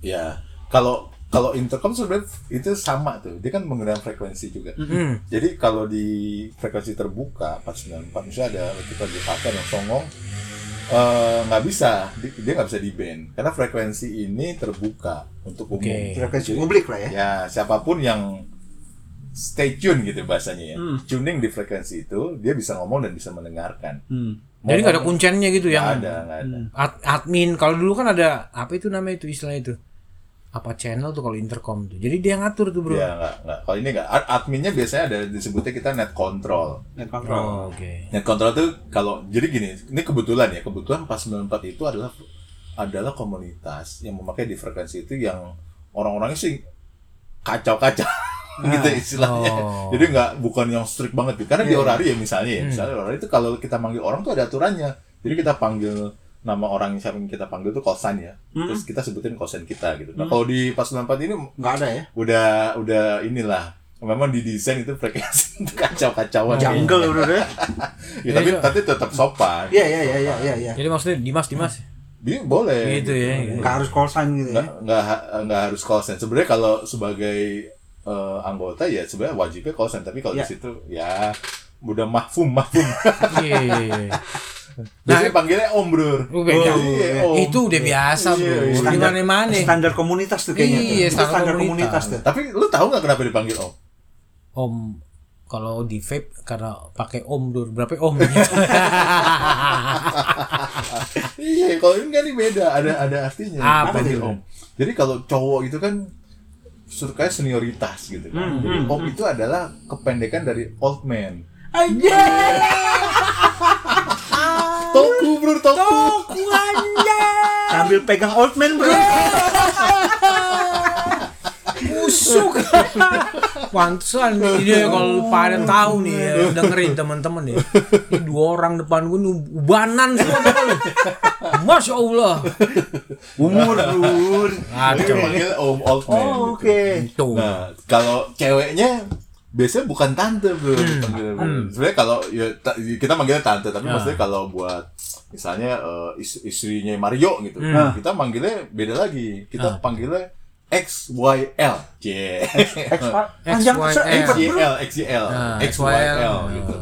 ya kalau kalau intercom sebenarnya itu sama tuh dia kan menggunakan frekuensi juga Mm-hmm. jadi kalau di frekuensi terbuka 494 misalnya ada kita di pakai yang songong eh, nggak bisa Di- dia nggak bisa di band karena frekuensi ini terbuka untuk umum Oke. Frekuensi publik lah ya. ya siapapun yang stay tune gitu bahasanya ya Hmm. tuning di frekuensi itu dia bisa ngomong dan bisa mendengarkan Jadi nggak ada kunciannya gitu nggak Hmm. yang ada nggak ada ad- admin. Kalau dulu kan ada apa itu namanya itu istilahnya itu apa channel tuh kalau intercom tuh. Jadi dia ngatur tuh bro. ya nggak nggak kalau ini nggak Ad- adminnya biasanya ada disebutnya kita net control Net control. Oh, Oke. net control itu kalau jadi gini ini kebetulan ya kebetulan 494 itu adalah adalah komunitas yang memakai di frekuensi itu yang orang-orangnya sih kacau-kacau gitu istilahnya Oh. jadi nggak bukan yang strict banget gitu karena di orari ya misalnya ya misalnya orari itu kalau kita manggil orang tuh ada aturannya jadi kita panggil nama orang yang siapa yang kita panggil tuh kosan ya terus kita sebutin kosan kita gitu nah kalau di 494 ini Enggak ada Iya. ya. udah udah inilah memang didesain itu frekuensi itu kacau-kacauan Jungle bro ya. ya, tapi Iya. tapi tetap sopan Iya, iya, iya, iya, iya, iya. Jadi maksudnya Dimas Dimas Dia boleh gitu ya. gitu. Enggak harus call sign gitu ya. nggak nggak ha- nggak harus call sign sebenarnya kalau sebagai eh, anggota ya sebenarnya wajibnya call sign tapi kalau Ya. di situ ya udah mahfum mahfum Iya. iya, iya. biasanya panggilnya om bro Oh, Nah, beda. iya, om. Itu udah biasa Iya, bro. iya. Di mana-mana. Standar komunitas tuh kayaknya. tuh. Iya, Itu standar standar komunitas. komunitas tuh. tapi lu tahu nggak kenapa dipanggil om Om kalau di vape karena pakai om dulu berapa om gitu. iya kalau ini kan ini beda ada ada artinya Apa Panggil tuh? om jadi kalau cowok itu kan surkanya senioritas gitu Hmm, kan jadi om itu adalah kependekan dari old man Aja. toku bro toku Sambil pegang old man bro. Iya. Busuk. Pantesan nih, ini kalau pada tahu nih ya, dengerin teman-teman ya. Ini dua orang depan gue nih ubanan semua depan lu. Masya Allah. Umur bro. Dia Kacau. panggil om Iya, old man gitu. Oh, Oke. Tuh. Nah, kalau ceweknya biasanya bukan tante bro Hmm. dipanggilnya, bro. Sebenarnya kalau ya, ta- kita manggilnya tante, Ya. tapi maksudnya kalau buat misalnya eh, is- istrinya Mario gitu, Hmm. Ya. kita manggilnya beda lagi. Ah. Kita panggilnya XYL. Yeah. X panjang XYL. serempet bro. XYL, XYL, Ah, XYL XYL. gitu.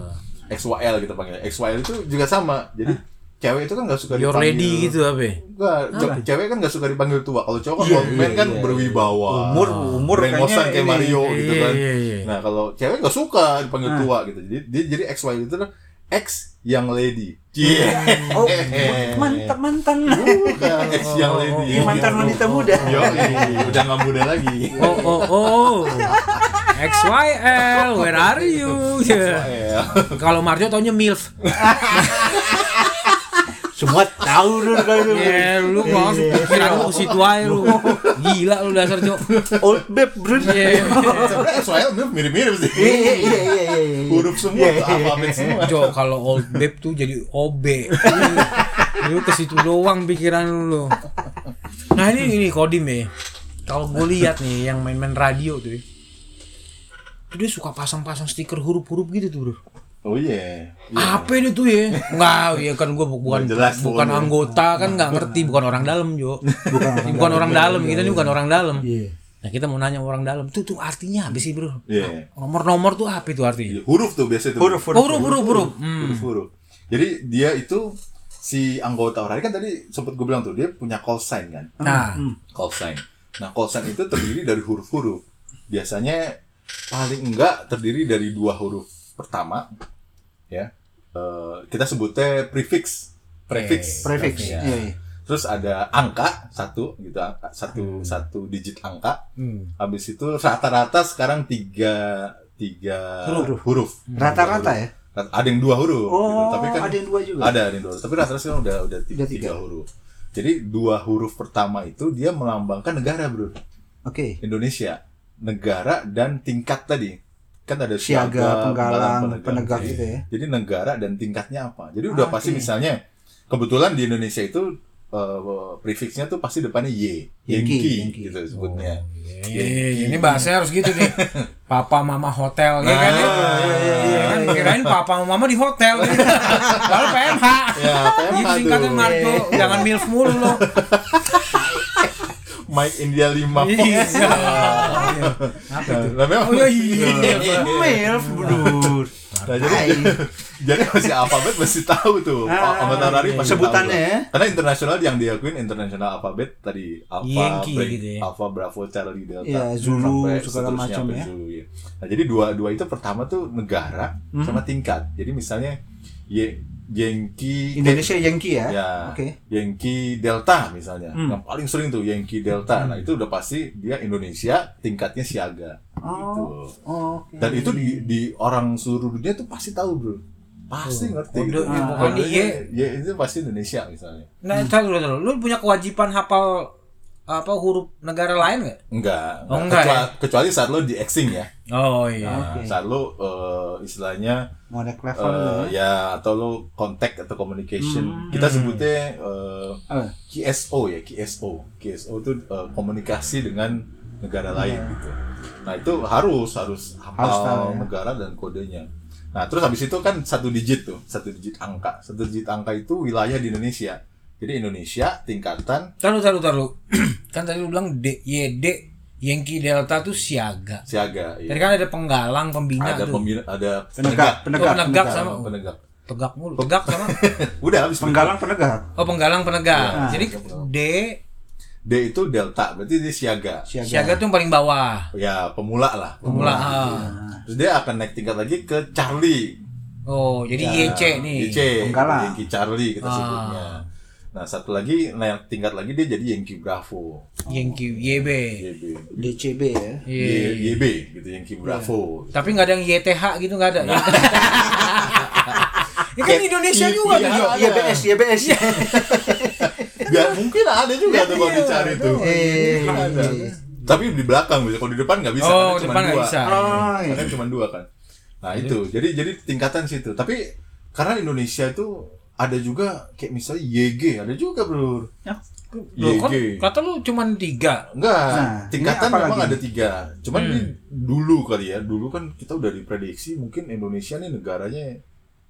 XYL kita panggilnya. XYL itu juga sama. Jadi cewek itu kan nggak suka You're dipanggil ready Ah. gitu apa? ya? Enggak, ce- cewek kan nggak suka dipanggil tua. Kalau cowok Iya, kan old man kan berwibawa. Umur umur Brengosan kayaknya. Ah, kayak ini. Mario gitu Iya, kan. iya, iya. Nah, kalau cewek nggak suka dipanggil tua gitu. Jadi dia jadi XY itu kan X yang lady. Cie. Oh, Eh, mantan mantan. Bukan, X yang lady. Ini oh, iya, mantan iya, wanita muda. Yo, udah nggak muda lagi. Oh oh oh. XYL, where are you? Yeah. Iya. Eh, Kalau Marjo taunya MILF. Semua tahu bro kalau itu. Ya Iya, lu langsung pikiran lu ke situ aja lu. Gila lu dasar, Cok. Old babe bro. Iya. Sebenarnya XYL mirip-mirip sih. Iya iya iya iya. iya. Huruf semua, tuh, alfabet semua. Jo kalau old babe tuh jadi OB. lu ke situ doang pikiran lu. lu. Nah ini ini Kodim ya. Kalau gue lihat nih yang main-main radio tuh, ya. Tuh dia suka pasang-pasang stiker huruf-huruf gitu tuh bro. Oh iya. Apa ini tuh ya? Enggak, ya kan gue bukan Nggak jelas tuh, bukan lu. anggota kan nggak ngerti, bukan orang dalam Jo. Bukan orang, dalam, kita ini bukan orang dalam. Iya. Nah kita mau nanya orang dalam, tuh tuh artinya apa sih bro? Iya. Nomor-nomor tuh apa itu artinya? Huruf tuh biasanya tuh. Huruf huruf. Huruf, huruf, huruf. Hmm. huruf-huruf. Jadi dia itu si anggota orang kan tadi sempat gue bilang tuh dia punya call sign kan. Nah, Call sign. Nah, call sign itu terdiri dari huruf-huruf. Biasanya paling enggak terdiri dari dua huruf pertama ya. Eh, kita sebutnya prefix. Prefix. Prefix. Ya. Iya iya. Terus ada angka satu gitu angka satu satu digit angka. Habis itu rata-rata sekarang tiga tiga huruf. Rata-rata ya? Ada yang dua huruf. gitu. Oh, Iya, Tapi kan ada yang dua juga. ada ada yang dua huruf. Tapi rata-rata sekarang udah udah tiga, Udah tiga. tiga huruf. Jadi dua huruf pertama itu dia melambangkan negara bro. Oke. Indonesia negara dan tingkat tadi kan ada Siaga, penggalang, penegak Jadi- gitu ya. Ah, jadi negara dan tingkatnya apa jadi udah pasti misalnya kebetulan di Indonesia itu eh, prefixnya tuh pasti depannya Y, Yankee, Yankee, Yankee. Oh, gitu sebutnya. Iya, ini bahasanya harus gitu nih. Papa mama hotel ya kan? ya? Ah, iya, iya, Iya kan kirain papa sama mama di hotel. Lalu PMH. Ya, PMH Itu singkatan tuh. Gitu Marco, jangan milf mulu lo. Mike India 5 Iya. Fox. Apa itu? Nah, memang. Oh iya, iya. Milf, bedur. Nah, jadi, jadi masih alfabet masih tahu tuh. Ah, Ahmad Harari iya. masih Sebutannya tahu ya. tuh. Karena internasional yang diakuin internasional alfabet tadi Alpha, Yankee Break- gitu ya. Alpha, Bravo, Charlie, Delta, Iya, Zulu, sampai segala seterusnya, macam ya. sampai Mhm. Zulu, iya. Nah, jadi dua dua itu pertama tuh negara sama tingkat. Jadi misalnya Ye, Yankee Indonesia Yankee ya. Ya, Oke. Hmm. Yankee Delta misalnya, yang paling sering tuh Yankee Delta. Nah itu udah pasti dia Indonesia tingkatnya siaga. Oh. Gitu. Oh, Oke. Dan itu di, di orang seluruh dunia tuh pasti tahu bro, pasti ngerti. Oh, gitu. dia- Ah. bukan Makanya, dia. ya itu pasti Indonesia misalnya. Nah, entar dulu dulu. Lu punya kewajiban hafal apa huruf negara lain nggak? Enggak, Oh, enggak enggak. Kecua- kecuali saat lo di acting ya, Oh Nah, ya? Oke. saat lo eh, istilanya Mau naik level eh, ya. ya atau lo kontak atau Hmm. communication, kita sebutnya eh, Eh, KSO ya KSO KSO itu eh, komunikasi dengan negara lain gitu nah itu harus harus Iya. Harus tahu, hafal ya. negara dan kodenya nah terus habis itu kan satu digit tuh satu digit angka satu digit angka itu wilayah di Indonesia jadi Indonesia tingkatan Taruh, taruh, taruh. kan tadi lu bilang D, Y, D, Yankee Delta tuh siaga. siaga ya. Tadi kan ada penggalang, pembina ada tuh. pembina ada penegak, Oh, Penegak, penegak, penegak penegak. sama penegak, penegak. tegak mulu. Tegak sama. udah habis Penggalang penegak. Oh, penggalang Iya. penegak. Jadi D D itu delta berarti dia siaga Oh, Siaga. siaga tuh yang paling bawah. ya pemula lah Pemula ah. A. iya. terus dia akan naik tingkat lagi ke Charlie Nah, Oh, jadi Iya. YC nih. Ah. YC, Penggalang. Yankee Charlie kita sebutnya. Nah, satu lagi nah, tingkat lagi dia jadi Yankee Bravo, Yankee YB. YB. DCB ya. Iya. Y- YB gitu Yankee Bravo. Tapi nggak ada yang YTH gitu nggak ada. Nah. Ya kan Indonesia juga iya, tuh. iya. YBS, YBS. Ya mungkin ada juga Iya, tuh kalau dicari tuh. Eh, Ada. Tapi di belakang bisa, kalau di depan nggak bisa. Oh, karena cuma depan nggak dua. bisa. Oh, iya. Karena cuma dua kan. Nah itu, jadi jadi tingkatan situ. Tapi karena Indonesia itu ada juga kayak misalnya YG, ada juga bro. Loh, kan YG. kata lu cuman tiga. Enggak, Nah, tingkatan ini apa memang lagi? Hmm. ada tiga. Cuman ini dulu kali ya, dulu kan kita udah diprediksi mungkin Indonesia nih negaranya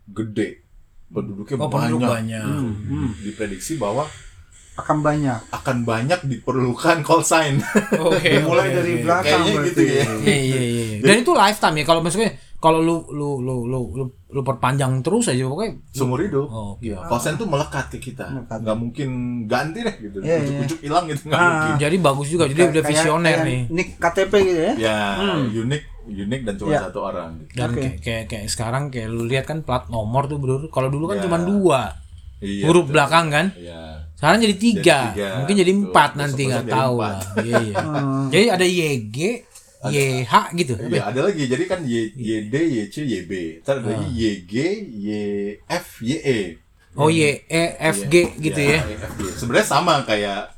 gede, penduduknya Oh, banyak. penduduk banyak. Diprediksi bahwa Hmm, akan banyak. akan banyak diperlukan call sign. Oke. Mulai oke, dari oke. belakang Kayaknya berarti. gitu ya. Iya iya iya. Dan itu lifetime ya kalau maksudnya kalau lu lu lu lu lu, lu perpanjang terus aja pokoknya Seumur hidup. Oh, Iya, call sign tuh melekat ke kita. Melekat. Nggak mungkin ganti deh gitu. Iya, iya. Ujuk-ujuk hilang gitu nggak Ah. mungkin. jadi bagus juga. Jadi udah Kayak- visioner kayak nih. Nik KTP gitu ya. Ya, unik, unik dan cuma Iya. satu orang. Hmm. Gitu. Ya. Dan Oke. kayak, kayak kayak sekarang kayak lu lihat kan plat nomor tuh bro. Kalau dulu kan Ya. cuman dua Iya, huruf betul. belakang kan. Iya. Sekarang jadi tiga, Jadi tiga. mungkin jadi Betul. empat nanti Besok-besok nggak jadi tahu empat. lah. Iya, iya. Hmm. jadi ada YG, YH gitu. Iya, ada lagi. Jadi kan Y, YD, YC, YB. Ntar ada Ah. lagi YG, YF, YE. Oh Y E F G gitu ya. iya. YFG. E. Sebenarnya sama kayak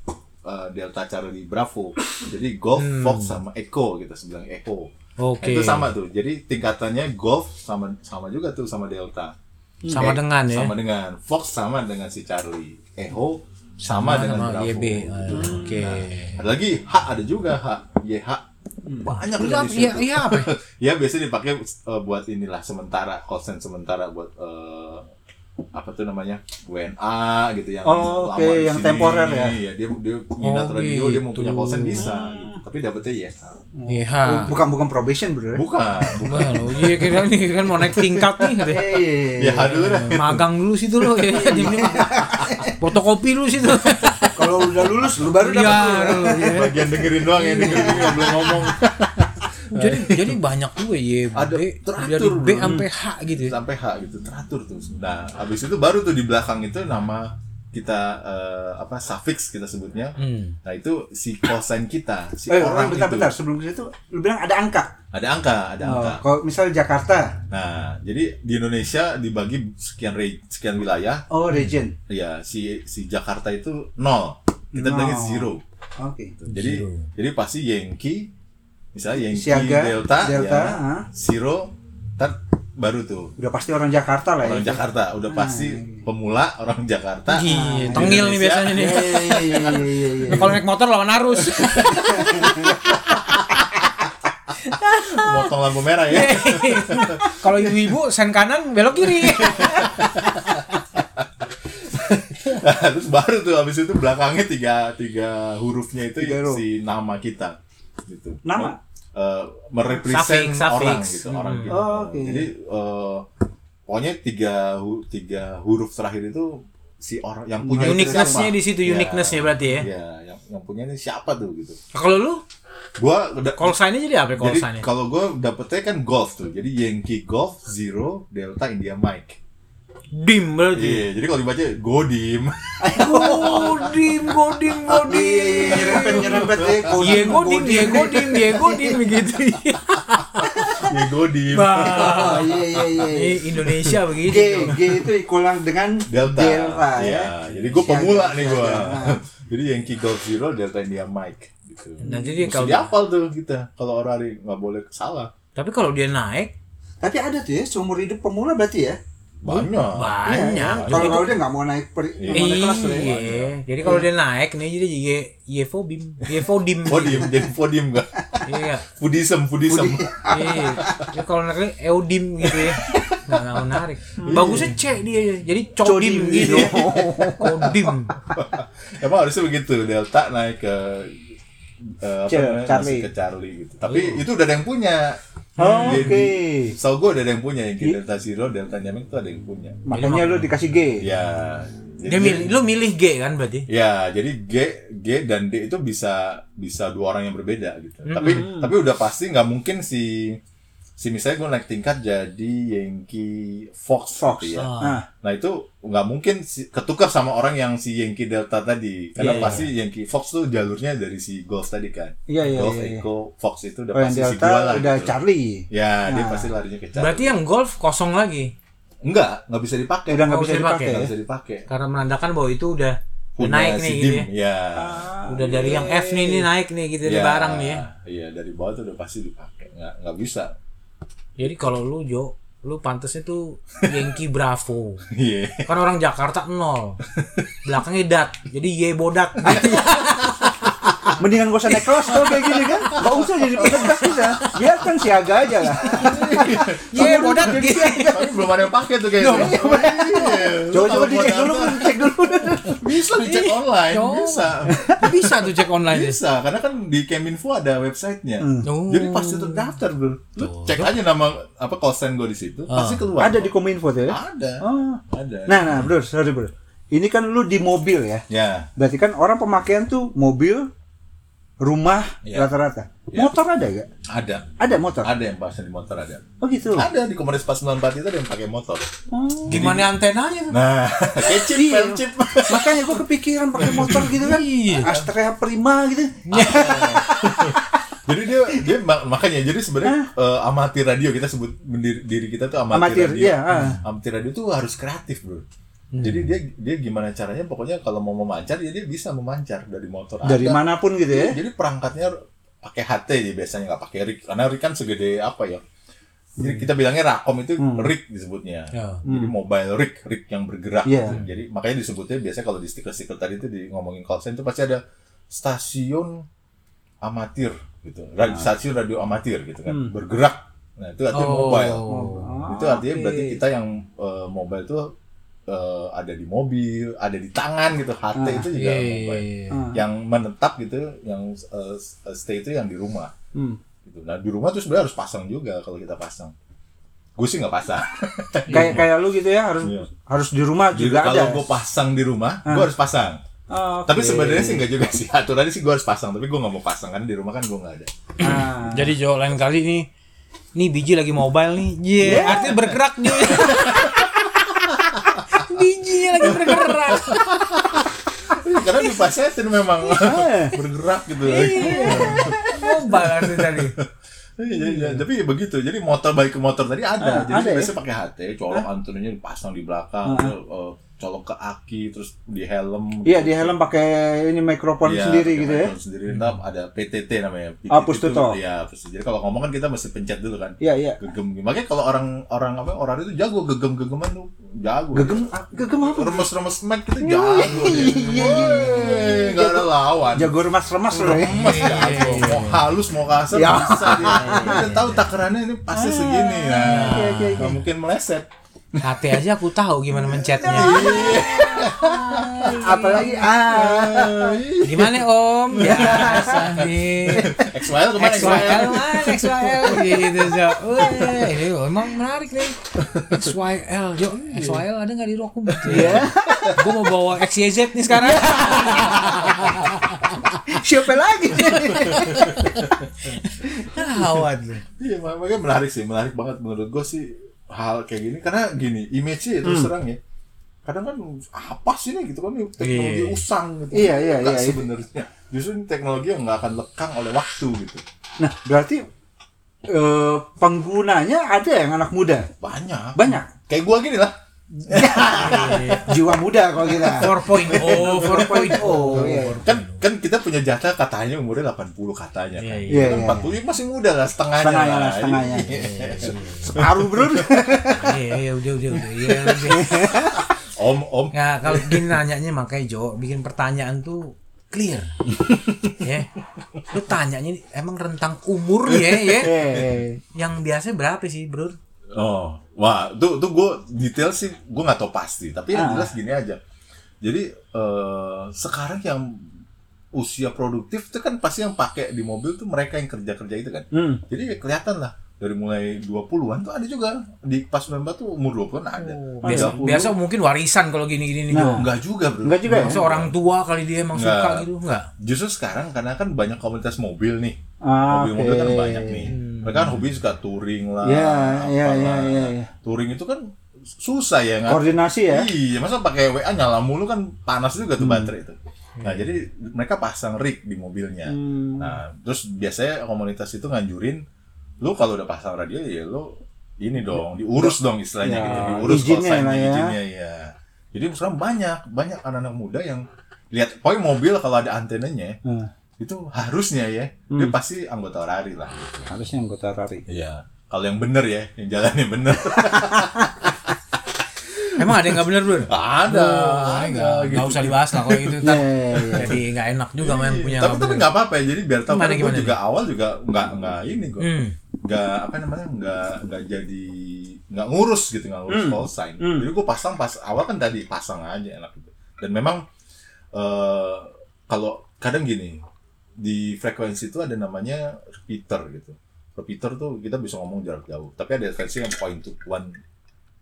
uh, Delta Charlie Bravo. Jadi Golf, Fox sama Echo gitu sebelah Echo. Hmm. Oke. Itu sama tuh. Jadi tingkatannya Golf sama sama juga tuh sama Delta. Sama Eh, dengan ya. Sama dengan Fox sama dengan si Charlie. Echo sama, dengan sama Bravo. YB. Ah, Gitu. Oke. Ada lagi H ada juga H, YH. Banyak Itu apa- Iya, tuh. iya apa? ya? ya biasanya dipakai eh, buat inilah sementara konsen sementara buat eh, apa tuh namanya WNA gitu yang Oh, oke, di yang sini. temporer ya? Iya, dia dia minat Oh, radio dia mau gitu. punya konsen bisa gitu. tapi dapetnya ya Hmm. YH. Bukan bukan probation bro. bukan bukan Wah, lo iya kira nih kan mau naik tingkat nih gitu. ya. Eh, ya dulu dah Magang dulu situ lo ya. Di mana? Fotokopi dulu situ. kalau udah lulus lu baru dapat tuh. Iya, lo, ya. bagian dengerin doang ya dengerin doang, belum ngomong Jadi jadi banyak juga YB. Ada dari teratur, B bro. sampai H gitu ya. sampai H gitu teratur tuh nah habis itu baru tuh di belakang itu nama kita eh, apa suffix kita sebutnya Hmm. nah itu si kosen kita si Eh, orang bentar, itu bentar. Sebelum ke situ, lu bilang ada angka. ada angka ada angka Oh, kalau misal Jakarta, Nah, jadi di Indonesia dibagi sekian re- sekian wilayah. oh region. Ya, si si Jakarta itu nol. Kita Nol. bilangnya zero. Oke. Jadi Zero. jadi pasti Yankee misalnya Yankee Siaga, Delta, Delta, ya, ah. zero, ntar baru tuh udah pasti orang Jakarta lah orang ya Jakarta udah pasti Hmm. pemula orang Jakarta Iya, Di tengil nih Indonesia. biasanya nih. Iya, iya, iya, iya, iya, iya. Nah, Kalau naik motor lawan arus. motong lampu merah ya Kalau ibu-ibu sen kanan belok kiri. Nah, terus baru tuh habis itu belakangnya tiga tiga hurufnya itu Tiga huruf. si nama kita gitu Nama? Eh, Suffix, merepresent suffix. orang gitu orang Hmm. gitu Oh, oke. jadi eh, pokoknya tiga hu- tiga huruf terakhir itu si orang yang punya itu Uniqueness-nya siapa. di situ, Ya. uniqueness-nya berarti ya. Iya, yang yang punya ini siapa tuh gitu Kalau lu gua udah call sign-nya jadi apa ya call jadi sign-nya? kalau gua dapetnya kan golf tuh jadi Yankee Golf Zero Delta India Mike Dim berarti. iya jadi kalau dibaca Godim Oh, Godim, godim, godim. Iya, nyerempet nyerempet ya Kodam, Diego Iya, dim, Kodam. Diego dim, Diego dim begitu. ya Godim Bah. Oh, iya iya iya Ini Indonesia G begitu. tuh. G itu equal dengan Delta. ya. Iya, jadi gue Siaga, Nah, pemula nih gue. siaga. jadi Yankee Golf Zero Delta India Mike gitu. Nah, jadi Mesti kalau- dihafal tuh kita kalau orang hari nggak boleh salah. Tapi kalau dia naik Tapi ada tuh ya seumur hidup pemula berarti ya. Iya, Banyak. banyak. Kalau kalau dia nggak mau naik per, nggak mau naik kelas tuh ya. Iya. Jadi kalau dia naik nih jadi jadi Yevo Bim, Yevo Dim. Fodim, jadi fodim gak? Iya. Foodism, foodism. Iya. Jadi kalau naik Eudim gitu ya. Nggak nggak menarik. Bagusnya C dia ya. Jadi Codim Codim, gitu. iya. Codim. Emang harusnya begitu. Delta naik ke eh, apa Ce- namanya, Charlie. masuk ke Charlie gitu. Tapi itu udah ada yang punya. Oh, Jadi, Iya. Oke. Setahu gue udah ada yang punya Yankee Delta Zero, Delta India Mike itu ada yang punya. Makanya lu dikasih G. Ya. jadi- Dia milih lu milih G kan berarti. Ya, jadi G, G dan D itu bisa bisa dua orang yang berbeda gitu. Tapi tapi udah pasti nggak mungkin si si misalnya gue naik tingkat jadi Yankee Fox, Fox. gitu ya. Nah, Nah itu nggak mungkin si, ketukar sama orang yang si Yankee Delta tadi, Iya, karena pasti Yankee Fox tuh jalurnya dari si Golf tadi kan. Iya, iya, Golf, iya, iya. Echo, Fox itu udah oh, yang pasti si gua lah. Delta udah gitu. Charlie. Ya, dia Nah. pasti larinya ke Charlie. Berarti yang golf kosong lagi enggak, nggak bisa dipakai. Udah nggak Oh, bisa bisa dipakai. nggak ya? bisa dipakai. karena menandakan bahwa itu udah udah Punya naik si nih Dim, gitu ya. ya. Udah dari yang F nih ini naik nih gitu dari barang nih ya. Iya, dari bawah tuh udah pasti dipakai. Nggak, nggak bisa. Jadi kalau lu Jo, lu pantasnya tuh Yankee Bravo. Iya. Kan orang Jakarta nol. Belakangnya dat. Jadi ye bodat. Mendingan gak usah naik kelas kalau kayak gini kan. Gak usah jadi petugas bisa. Biarkan siaga aja lah. Iya, ye bodat gitu. Tapi belum ada yang pakai tuh kayaknya. Iya. Coba coba Kalau dicek mau dulu, daftar, cek dulu. Bisa dicek online, Coba. bisa. Bisa tuh cek online. ya. Bisa, karena kan di Keminfo ada websitenya. Oh. Jadi pasti terdaftar, Bro. Lu cek aja nama apa kosan gue di situ, Ah. pasti keluar. Ada di kominfo tuh ya. Ada. Oh. Ada. Nah, nah, bro, sorry bro. Ini kan lu di mobil ya. Ya. Berarti kan orang pemakaian tuh mobil, rumah Iya. rata-rata. Iya. Motor ada gak? Ada. Ada motor. Ada yang pasti di motor ada. Oh gitu. Ada di Komodo 494 itu ada yang pakai motor. Gimana antenanya tuh? Nah, kayak chip, Iya. pel chip. Makanya gua kepikiran pakai motor gitu kan. Iya. Astrea Prima gitu. jadi dia dia ma- makanya jadi sebenarnya eh, amatir radio kita sebut mendiri- diri kita tuh amatir, Ah. Amatir, radio. Hmm. iya, ah. Amatir radio tuh harus kreatif, Bro. Jadi dia dia gimana caranya pokoknya kalau mau memancar ya dia bisa memancar dari motor Dari ada. Iya. manapun gitu ya. Jadi perangkatnya pakai HT ya biasanya nggak pakai rig karena rig kan segede apa ya? Jadi kita bilangnya rakom itu Hmm. rig disebutnya. Ya. Jadi mobile rig, rig yang bergerak. Iya. gitu. Jadi makanya disebutnya biasanya kalau di stiker-stiker tadi itu di ngomongin call center pasti ada stasiun amatir gitu. Radio, Stasiun radio amatir gitu kan. Bergerak. Oh. Nah, itu artinya mobile. Oh, itu Ah, artinya berarti kita yang eh, mobile tuh eh, ada di mobil, ada di tangan gitu. HT itu Iya, juga mobile Ah. Ah. yang menetap gitu yang uh, stay itu yang di rumah Hmm. gitu nah di rumah tuh sebenarnya harus pasang juga kalau kita pasang gue sih nggak pasang Kayak kayak lu gitu ya harus Iya. harus di rumah Jadi juga ada. Ah. kalau gue pasang di rumah gue harus pasang Oh, tapi sebenarnya sih nggak juga sih aturannya sih gue harus pasang tapi gue nggak mau pasang karena di rumah kan gue nggak ada nah. Jadi Jo lain kali nih nih biji lagi mobile nih. Ye, artinya bergerak nih. Bijinya lagi bergerak. karena Iya. dipasetin memang bergerak gitu Mobile artinya tadi. Iya, iya. tapi begitu. Jadi motor balik ke motor tadi Ah, ada. Jadi ada ya? Ah. biasanya pakai HT, colok antenonya dipasang di belakang, terus, eh, colok ke aki, terus di helm. Iya di helm pakai ini mikrofon Iya, sendiri pakai gitu ya. microphone sendiri. Entah ada PTT namanya. Ah, push to Itu- talk. Iya, push to- Jadi kalau ngomong kan kita mesti pencet dulu kan. Iya iya. Gegem. Makanya kalau orang orang apa orang itu jago gegem-gegeman tuh jago. Gegem ah, gegem apa? Remes-remes mic kita jago. dia. Iya, Woi, nggak ada lawan. Jago remas-remas loh ya. Mas jago. Mau halus mau kasar Iya. Ah, bisa dia. Dia udah tahu takarannya ini pasti segini. Nah, Iya, iya, nggak mungkin meleset. Hati aja aku tahu gimana mencetnya. Apalagi ah Gimana Om? Ya, Sandi. XYL kemana XYL? XYL man, XYL gitu so. Wih, ini iya, emang menarik nih. XYL, yo XYL ada nggak di rokum? Iya. Gue mau bawa XYZ nih sekarang. siapa lagi? Awat. Iya, mak- makanya menarik sih, menarik banget menurut gue sih hal kayak gini karena gini image sih Hmm. terus serang ya kadang kan apa sih nih gitu kan ini teknologi Iya. usang gitu Iya, iya, Nggak iya, iya. sebenarnya justru ini teknologi yang nggak akan lekang oleh waktu gitu Nah berarti eh, penggunanya ada yang anak muda banyak banyak kayak gua gini lah jiwa muda kalau kita. 4.0, 4.0. Oh iya. kan kan kita punya jatah katanya umurnya 80 katanya kan. Iya, Kan iya. 40 masih muda lah Iya. setengahnya, Setengahnya lah, setengahnya. Iya, Separuh bro. Iya, iya, udah, udah, udah. Iya, udah. om om Nah, kalau gini nanyanya makanya Jo, bikin pertanyaan tuh clear. ya. Lu tanyanya nih, emang rentang umur ya, ya. Eh, Yang biasanya berapa sih, Bro? Oh, wah, tuh tuh gue detail sih, gue nggak tahu pasti. Tapi Ah. yang jelas gini aja. Jadi eh, sekarang yang usia produktif itu kan pasti yang pakai di mobil tuh mereka yang kerja kerja itu kan. Hmm. Jadi kelihatan lah dari mulai 20-an tuh ada juga di pas Mbak tuh umur 20-an ada. Oh, Biasa, 30. biasa mungkin warisan kalau gini-gini nih, Jo. Enggak juga, Bro. Enggak juga ya? Maksudnya orang tua kali dia emang Iya. Nggak. suka gitu enggak? Justru sekarang karena kan banyak komunitas mobil nih. Ah, Mobil-mobil kan oke. Hmm. banyak nih. Mereka kan hobi suka touring lah. Iya, apalah. iya, iya, iya, iya. Touring itu kan susah ya nggak? Koordinasi ya. Iya, masa pakai WA nyala mulu kan panas juga tuh Hmm. baterai itu. Nah, jadi mereka pasang rig di mobilnya. Hmm. Nah, terus biasanya komunitas itu nganjurin lu kalau udah pasang radio ya lu ini dong, diurus dong istilahnya Ya, gitu, diurus kalau izinnya lah sign-nya, ya. izinnya ya. Jadi sekarang banyak banyak anak-anak muda yang lihat pokoknya mobil kalau ada antenanya Hmm. itu harusnya ya dia pasti anggota RARI lah. Harusnya anggota Rari. Iya. Kalau yang bener ya, yang jalannya bener. Emang ada yang nggak bener Bro? ada, ada. Nggak gitu. Iya, usah dibahas lah kalau gitu Iya, ntar iya, iya. jadi nggak enak juga main punya. nggak tapi tapi bener. nggak apa-apa ya jadi biar tahu Gimana, karena gue gimana juga awal juga nggak nggak ini gue Hmm. nggak apa namanya nggak nggak jadi nggak ngurus gitu nggak ngurus call sign jadi gue pasang pas awal kan tadi pasang aja enak gitu dan memang eh kalau kadang gini di frekuensi itu ada namanya repeater gitu repeater tuh kita bisa ngomong jarak jauh tapi ada frekuensi yang point to one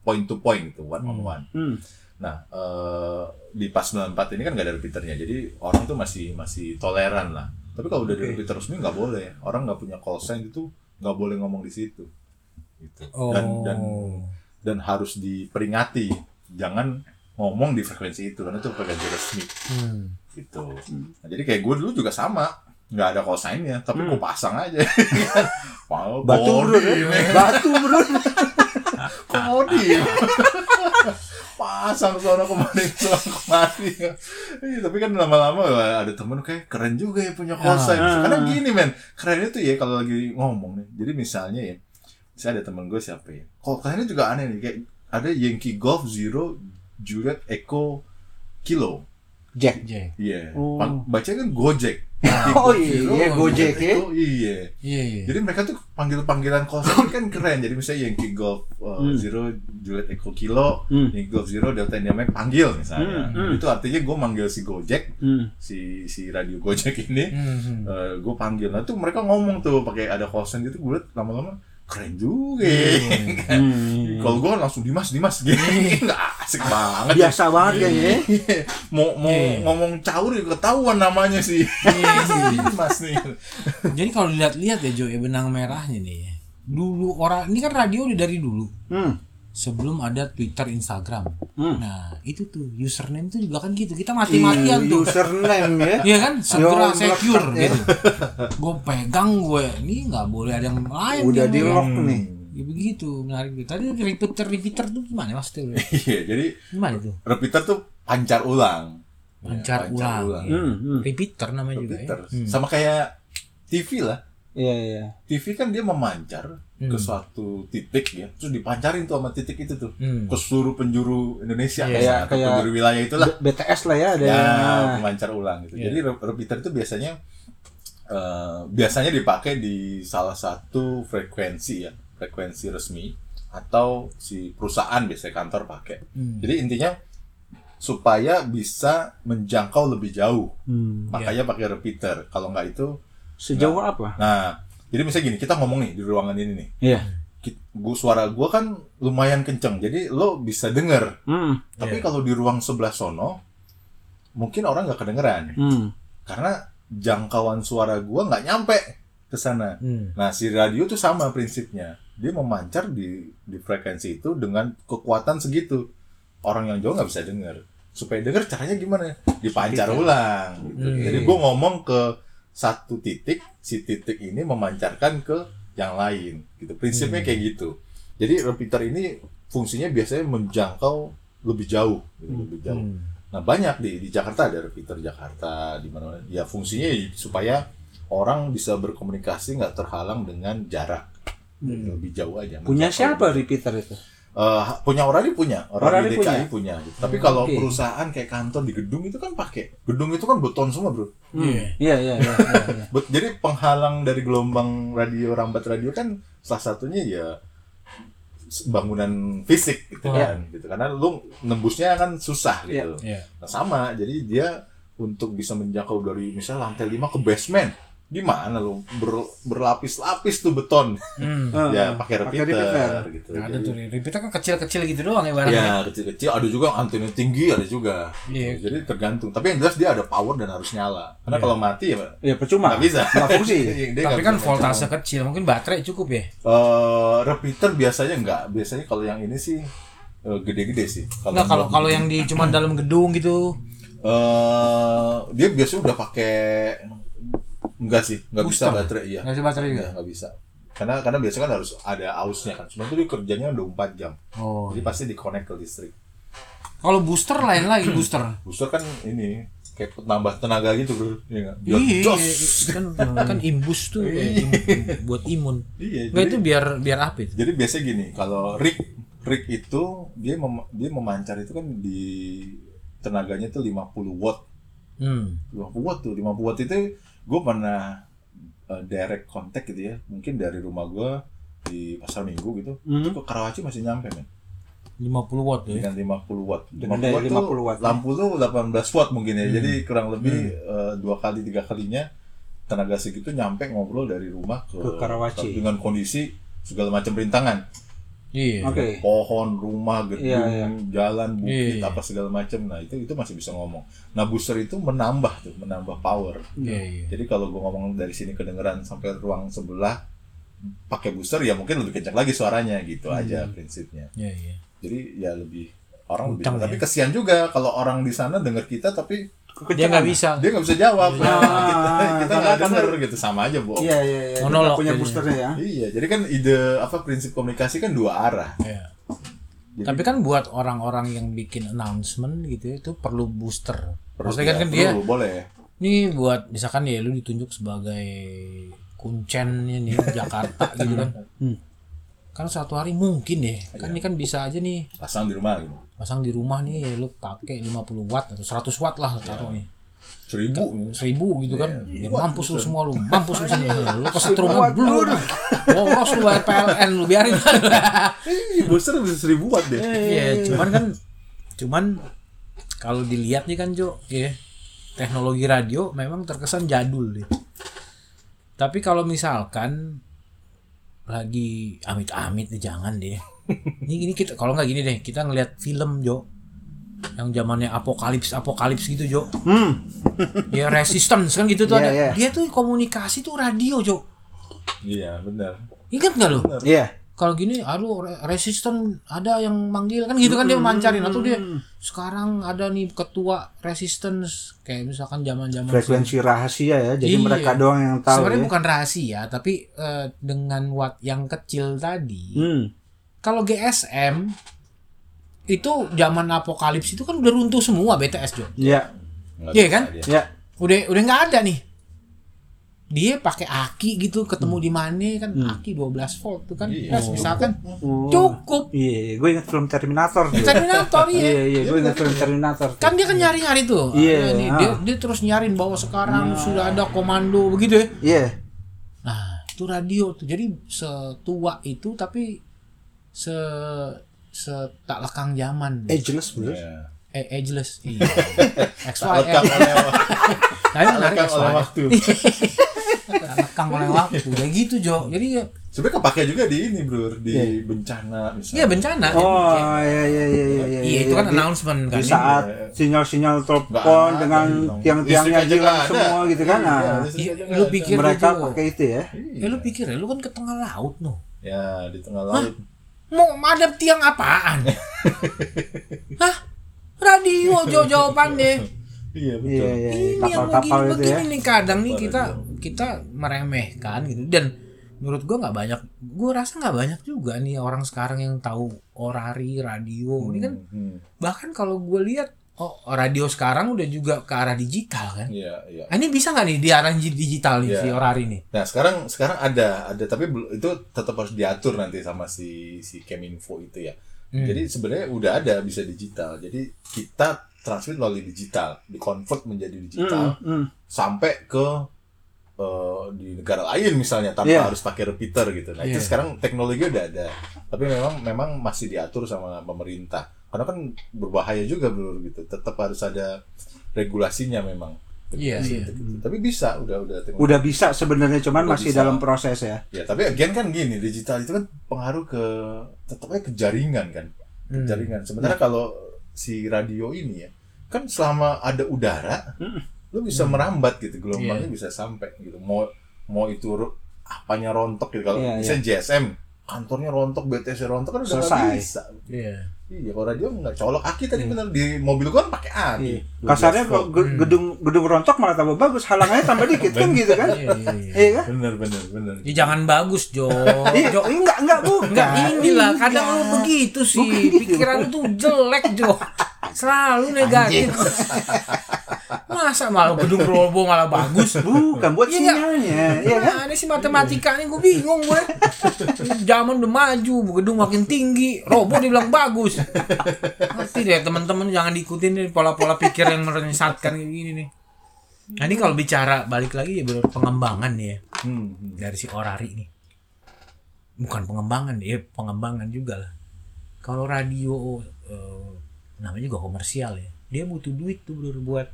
point to point gitu one on one Hmm. Nah, eh, di pas 94 ini kan nggak ada repeaternya, jadi orang tuh masih masih toleran lah. Tapi kalau udah di repeater resmi nggak boleh, orang nggak punya call sign itu nggak boleh ngomong di situ. Gitu. Oh. Dan dan dan harus diperingati, jangan ngomong di frekuensi itu karena itu frekuensi resmi. Hmm. Gitu. Hmm. Nah, jadi kayak gue dulu juga sama, nggak ada call sign-nya, tapi gue pasang aja. Mau Hmm. Batu bro, ya? batu bro. komodi pasang suara kemarin suara kemari Ih, tapi kan lama-lama wah, ada temen kayak keren juga ya punya Ah, kosan karena gini men kerennya tuh ya kalau lagi ngomong nih jadi misalnya ya misalnya ada temen gue siapa ya kok kerennya juga aneh nih kayak ada Yankee Golf Zero Juliet Echo Kilo Jack. Iya. iya Oh. Bacanya kan Gojek Nah, Oh iya, Zero, Gojek ya. Echo, iya Iya. iya. jadi mereka tuh panggil-panggilan kosan kan keren. Jadi misalnya Yankee Golf uh, Zero, Juliet Echo Kilo, Hmm. Yankee Golf Zero, Delta Dynamic panggil Hmm, misalnya. hmm. Itu artinya gue manggil si Gojek, Hmm. si si radio Gojek ini, Mhm. gue panggil. Nah tuh mereka ngomong tuh pakai ada kosan gitu. Gue liat lama-lama keren juga. Kan? Hmm. Kalau gue langsung Dimas, Dimas gini nggak asik banget. ya. Biasa banget kayaknya. ya. mau mau ngomong caur ya ketahuan namanya sih. iya, Dimas nih. Jadi kalau dilihat-lihat ya Jo, ya benang merahnya nih. ya. Dulu orang ini kan radio udah dari dulu. Hmm. sebelum ada Twitter, Instagram. Hmm. Nah, itu tuh username tuh juga kan gitu. Kita Iya, mati-matian tuh. Username ya. Iya kan? Segera Yo, secure melekat, ya. gitu. Gue pegang gue, ini nggak boleh ada yang lain. Udah nih, di ya. lock nih. Ya begitu, menarik. gitu. Tadi repeater repeater tuh gimana maksudnya? Bro? Iya, jadi Gimana tuh? repeater tuh pancar ulang. Ya, Pancar ulang. ya. Hmm, hmm. Repeater namanya juga ya. Repeater. Sama kayak TV lah. Iya iya. TV kan dia memancar ke suatu titik ya, terus dipancarin tuh sama titik itu tuh Hmm. ke seluruh penjuru Indonesia Iya, kayak kayak- atau penjuru wilayah itulah. B- BTS lah ya ada Ya, yang- pemancar ulang gitu. Jadi re- repeater itu biasanya eh, biasanya dipakai di salah satu frekuensi ya, frekuensi resmi atau si perusahaan biasanya kantor pakai. Jadi intinya supaya bisa menjangkau lebih jauh. Makanya pakai repeater. Kalau nggak itu Sejauh apa? nah, jadi misalnya gini, kita ngomong nih di ruangan ini nih. Iya. Ki- Gua, suara gua kan lumayan kenceng. Jadi lo bisa denger. Hmm. Tapi kalau di ruang sebelah sono mungkin orang nggak kedengeran Hmm. karena jangkauan suara gua nggak nyampe ke sana. Hmm. Nah, si radio tuh sama prinsipnya. Dia memancar di di frekuensi itu dengan kekuatan segitu. Orang yang jauh nggak bisa dengar. Supaya dengar caranya gimana? Dipancar ulang. gitu. Jadi gua ngomong ke satu titik, si titik ini memancarkan ke yang lain. Gitu. Prinsipnya kayak gitu. Jadi repeater ini fungsinya biasanya menjangkau lebih jauh, gitu, lebih jauh. Nah banyak di di Jakarta ada repeater Jakarta di mana ya fungsinya supaya orang bisa berkomunikasi nggak terhalang dengan jarak lebih jauh aja. Punya Mencapai- siapa repeater itu? Eh, punya Orari punya, Orari Orari, DKI punya. gitu. Tapi kalau oke. perusahaan kayak kantor di gedung itu kan pakai. Gedung itu kan beton semua bro. Iya iya iya. iya, iya. Bet- Jadi penghalang dari gelombang radio rambat radio kan salah satunya ya s- bangunan fisik gitu kan gitu karena lu nembusnya kan susah gitu. Iya. Nah, sama, jadi dia untuk bisa menjangkau dari misalnya lantai 5 ke basement. Di mana lu Ber- berlapis-lapis tuh beton. Hmm. ya, pakai Ah, pakai repeater, repeater. gitu. Ada Jadi- tuh repeater kan kecil-kecil gitu doang ibaratnya. Ya, kecil-kecil ada juga yang antena tinggi, ada juga. Iya. Jadi tergantung. Tapi yang jelas dia ada power dan harus nyala. Karena kalau mati ya Ya percuma. nggak bisa. Nggak Iya. fungsi. Dia Tapi nggak kan bisa voltase kecil, mungkin baterai cukup ya. Eh, repeater biasanya enggak. Biasanya kalau yang ini sih eh, gede-gede sih. Kalau Enggak kalau kalau yang di cuma dalam gedung gitu. eh dia biasanya udah pakai enggak sih, enggak bisa baterai iya. Enggak sih baterai juga. Iya, nggak bisa. Karena karena biasanya kan harus ada ausnya kan. Cuma tuh dia kerjanya udah 4 jam. Oh. Jadi pasti di connect ke listrik. Kalau booster lain lagi booster. Booster kan ini kayak nambah tenaga gitu, Bro. Iya nggak? Biar Iya, jos! kan kan imbus tuh ya, im- buat imun. Iya, Enggak jadi- itu biar biar apa itu? Jadi biasanya gini, kalau rig rig itu dia mem- dia memancar itu kan di tenaganya tuh 50 watt. Hmm. 50 watt tuh 50 watt itu gue pernah eh, direct contact gitu ya mungkin dari rumah gue di pasar minggu gitu Hmm. itu ke Karawaci masih nyampe men 50 watt ya. dengan 50 watt 50 Dengan daya 50 watt. Hmm. lampu tuh 18 watt mungkin ya jadi kurang lebih eh, dua kali tiga kalinya tenaga segitu nyampe ngobrol dari rumah ke, Ke Karawaci. dengan kondisi segala macam rintangan Iya. Oke. pohon, rumah, gedung, Iya, iya. jalan, bukit, Iya. apa segala macam. Nah itu itu masih bisa ngomong. Nah booster itu menambah tuh, menambah power. Iya, iya. Jadi kalau gue ngomong dari sini kedengeran sampai ruang sebelah pakai booster ya mungkin lebih kencang lagi suaranya gitu aja Hmm. prinsipnya. Iya, iya. Jadi ya lebih orang lebih Kencang ya. tapi kesian juga kalau orang di sana denger kita tapi Dia nggak bisa. dia nggak bisa jawab. Iya. Nah, kita kita Ah, nggak kan karena- denger gitu sama aja bohong. Iya iya iya. Monolog Nggak Punya jadinya. boosternya ya. Iya, jadi kan ide apa prinsip komunikasi kan dua arah. Iya. Tapi kan buat orang-orang yang bikin announcement gitu ya, itu perlu booster. Maksudnya kan, kan dia perlu, boleh. Ini buat misalkan ya lu ditunjuk sebagai kuncennya nih Jakarta gitu kan. Hmm. Kan suatu hari mungkin deh. Kan Iya. ini kan bisa aja nih Pasang di rumah gitu. pasang di rumah nih ya lu pakai 50 watt atau 100 watt lah taruh nih. Seribu. 1000 gitu kan. Ya, mampus lu semua lu, mampus lu semua. Lu ke setruman belum. Boros lu bayar PLN lu biarin. Iya, booster bisa seribu watt deh. Iya, cuman kan cuman kalau dilihat nih kan Jo, ya teknologi radio memang terkesan jadul deh. Tapi kalau misalkan lagi amit-amit nih jangan deh. Ini gini kita kalau nggak gini deh, kita ngelihat film Jo yang zamannya apokalips apokalips gitu Jo. Hmm. Ya resistance kan gitu tuh Iya, ada. iya. Dia tuh komunikasi tuh radio Jo. Iya, benar. Ingat nggak lo? Iya. kalau gini aduh re- resisten ada yang manggil kan gitu kan dia mancarin atau dia sekarang ada nih ketua resistance kayak misalkan zaman-zaman frekuensi rahasia ya jadi Iya. mereka doang yang tahu sebenarnya ya. bukan rahasia tapi eh, dengan watt yang kecil tadi Hmm. kalau GSM itu zaman apokalips itu kan udah runtuh semua BTS Jo ya Nggak Iya bisa kan? dia. ya udah udah nggak ada nih dia pakai aki gitu ketemu di mana kan aki 12 volt tuh kan Iya. Terus misalkan Oh. cukup iya gue ingat film Terminator dulu. Terminator iya iya iya gue ingat film Terminator tuh. kan dia kan nyari nyari tuh Iya, Ada nih, ah. dia, dia terus nyarin bahwa sekarang sudah ada komando begitu ya iya nah itu radio tuh jadi setua itu tapi se se tak lekang zaman eh, ageless bener Iya. ageless iya XY Lekang oleh tapi Nah, menarik lekang XY oleh waktu. tak lekang oleh waktu kayak gitu Jo jadi ya Sebenarnya kepake juga di ini, Bro, di bencana misalnya. iya, bencana oh iya iya iya iya iya iya itu iya. kan Di- announcement kan di saat sinyal-sinyal telepon Iya. ada, kan dengan dong. tiang-tiangnya Listrik aja hilang nggak ada. semua gitu kan nah, Iya, Iya, listrik aja lu nggak ada. Iya. pikir mereka aja, Jo. pakai itu ya eh lu pikir ya, lu kan ke tengah laut noh Ya, di tengah laut. Mau madep tiang apaan? Hah? Radio jauh jawaban deh. Iya, betul. iya iya iya. Ini yang kapal-kapal begini itu begini ya nih kadang nih kita kita meremehkan gitu dan menurut gua nggak banyak gua rasa nggak banyak juga nih orang sekarang yang tahu orari radio ini kan Hmm, bahkan kalau gua lihat oh radio sekarang udah juga ke arah digital kan Iya, iya. Ah, ini bisa nggak nih diarahin digital nih Iya. si orari nih Nah sekarang sekarang ada ada tapi bel- itu tetap harus diatur nanti sama si si Keminfo itu ya. Hmm. Jadi sebenarnya udah ada bisa digital. Jadi kita transmit melalui digital, dikonvert menjadi digital Hmm, sampai ke eh, di negara lain misalnya tanpa Iya. harus pakai repeater gitu. Nah itu Iya. sekarang teknologi udah ada, tapi memang memang masih diatur sama pemerintah. Karena kan berbahaya juga bro gitu. Tetap harus ada regulasinya memang. Iya, Regulasi iya. gitu. Tapi bisa udah udah teknologi. udah bisa sebenarnya cuman Udah masih bisa. dalam proses ya Ya, tapi again kan gini, digital itu kan pengaruh ke tetapnya ke jaringan kan. Ke Hmm. jaringan. Sementara kalau si radio ini ya, kan selama ada udara, Hmm. lu bisa merambat gitu, gelombangnya Iya. bisa sampai gitu. Mau mau itu ro- apanya rontok gitu kalau Iya, misalnya JSM kantornya rontok, BTS rontok kan udah nggak Selesai. bisa. Iya. Iya, kalau radio nggak colok aki tadi bener di mobil gua kan pakai aki. Iya. kasarnya kalau ge- Hmm. gedung gedung rontok malah tambah bagus halangannya tambah dikit kan gitu kan Iya, iya, iya. iya kan bener bener bener. Ya, jangan bagus Jo. Iya, Jo enggak enggak Iya, bu Enggak inilah kadang lu begitu sih Bukan gitu. pikiran lu tuh jelek Jo selalu negatif masa malah gedung robo malah bagus bukan buat Iya, enggak? sinyalnya iya kan Nah, ini sih matematika nih gue bingung gue. Zaman udah maju, gedung makin tinggi, robot dibilang bagus. Ngerti deh teman-teman jangan diikutin nih pola-pola pikir yang menyesatkan kayak gini nih. Nah, ini kalau bicara balik lagi ya bener pengembangan nih ya Hmm, hmm. dari si Orari nih. Bukan pengembangan ya, pengembangan juga lah. Kalau radio eh, namanya juga komersial ya. Dia butuh duit tuh Bro, buat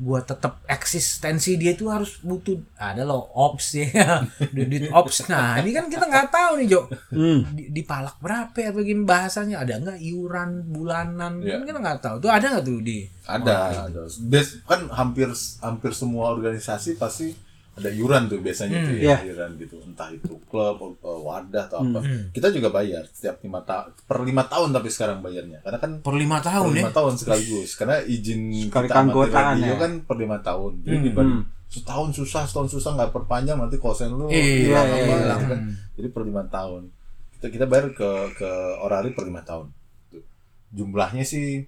buat tetap eksistensi dia tuh harus butuh ada loh ops ya duit, duit ops nah ini kan kita nggak tahu nih Jo di, dipalak berapa ya begini bahasanya ada nggak iuran bulanan Iya. kan kita nggak tahu tuh ada nggak tuh di ada, ada. Bias- kan hampir hampir semua organisasi pasti ada iuran tuh biasanya tuh ya, Iya. iuran gitu entah itu klub eh, wadah atau apa kita juga bayar setiap lima ta- per lima tahun tapi sekarang bayarnya karena kan per lima per tahun ya lima tahun sekaligus karena izin Sekali kita amatir keanggotaan radio ya. Hmm. kan per lima tahun jadi Hmm. dibanding setahun susah setahun susah nggak perpanjang nanti kosen lu Iya, hilang iya, apa, iya. gitu kan. jadi per lima tahun kita kita bayar ke ke orari per lima tahun Tuh. jumlahnya sih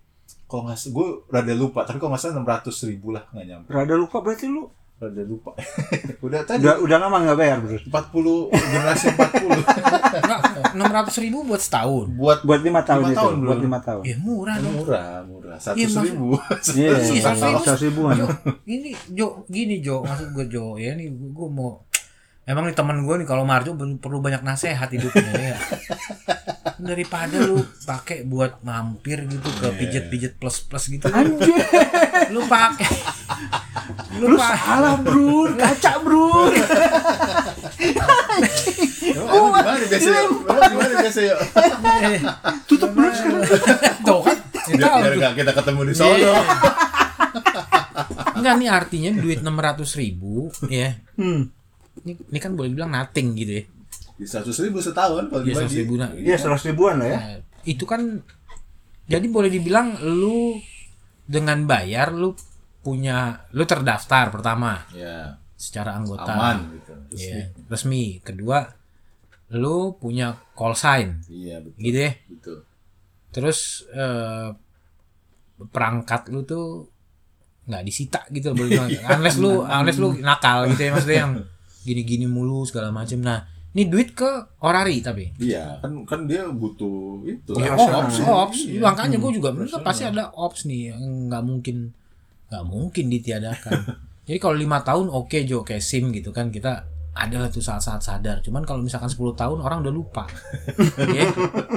kalau nggak gue rada lupa tapi kalau nggak salah enam ratus ribu lah nggak nyampe rada lupa berarti lu rada lupa udah tadi udah udah lama nggak bayar bro empat puluh generasi empat puluh enam ratus ribu buat setahun buat buat lima tahun Lima itu tahun, buat Bro. lima tahun Ya murah dong. murah murah Iya, seratus maksud- ribu iya Iya, iya, seratus ribu. seratus ribuan Jo, ini Jo, gini Jo, maksud gue Jo, ya ini gue gue mau Emang nih teman gue nih kalau Marjo ben- perlu banyak nasehat hidupnya ya. Daripada lu pakai buat mampir gitu Iya, ke pijet-pijet plus-plus gitu. anjir Lu pakai lu salah bro kaca bro Emang gimana biasanya? Emang gimana biasanya? tutup bro sekarang Tuh kan. Ya, Iya, Biar, tahu biar tuh. nggak kita ketemu di Solo. Enggak nih Hmm. artinya duit 600 ribu ya. Ini, ini kan boleh bilang nothing gitu ya. Di seratus ribu setahun kalau Iya, dibagi. 100.000, nah. Iya, seratus ribuan lah ya. Nah, itu kan jadi boleh dibilang lu dengan bayar lu punya lu terdaftar pertama Iya. secara anggota Aman gitu. Terus Iya, resmi kedua lu punya call sign Iya betul. gitu ya Betul. terus eh, perangkat lu tuh nggak disita gitu loh boleh bilang. unless lu unless lu nakal gitu ya maksudnya yang gini-gini mulu segala macem nah ini duit ke orari tapi Iya kan kan dia butuh itu. Oh, Iya, Rasional. ops, ops. Makanya gue juga bener pasti ada ops nih yang nggak mungkin nggak mungkin ditiadakan. Jadi kalau lima tahun oke Jo kayak SIM gitu kan kita adalah tuh saat-saat sadar. Cuman kalau misalkan 10 tahun orang udah lupa. Iya.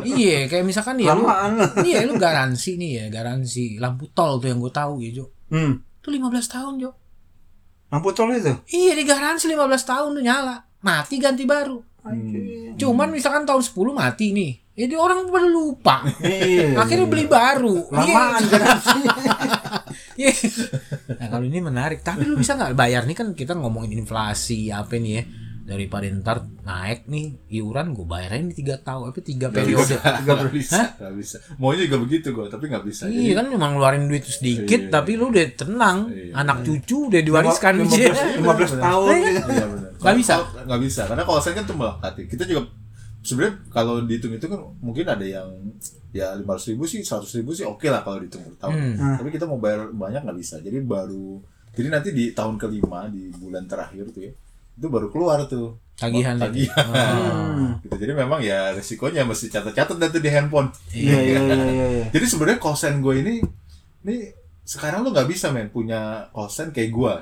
Iya, kayak misalkan nih ya lu Lamaan lah. Iya, lu garansi nih ya, garansi lampu tol tuh yang gue tahu ya, Jo. Hmm. Itu 15 tahun, Jo. Lampu tol itu. Iya, digaransi 15 tahun tuh nyala. Mati ganti baru. Anjing. Cuman misalkan tahun 10 mati nih. Jadi orang pada lupa. Iya. Akhirnya beli baru. Iya. Lamaan garansi. Iya. nah kalau ini menarik tapi lu bisa nggak bayar nih kan kita ngomongin inflasi apa nih ya daripada ntar naik nih iuran gue bayarin di tiga tahun apa tiga Gak bisa, periode gak bisa, gak bisa. Maunya juga begitu gue, tapi gak bisa. Iya kan cuma ngeluarin duit sedikit tapi lu udah tenang anak cucu udah diwariskan gitu. 15, 15 tahun gitu. Iya benar. Nggak bisa. Kalau- Nggak bisa. Karena kalau saya kan tuh melekati. Kita juga sebenarnya kalau dihitung itu kan mungkin ada yang ya lima ribu sih, seratus ribu sih oke lah kalau dihitung per tahun. Hmm. Nah. Tapi kita mau bayar banyak nggak bisa. Jadi baru jadi nanti di tahun kelima di bulan terakhir tuh ya itu baru keluar tuh Tagihan. Ah. tagihan. Hmm. Gitu. Jadi memang ya resikonya mesti catat-catat dah tuh di handphone. Iya, iya, iya, iya, iya. Jadi sebenarnya kosen gue ini, ini sekarang lu nggak bisa men punya kosen kayak gue.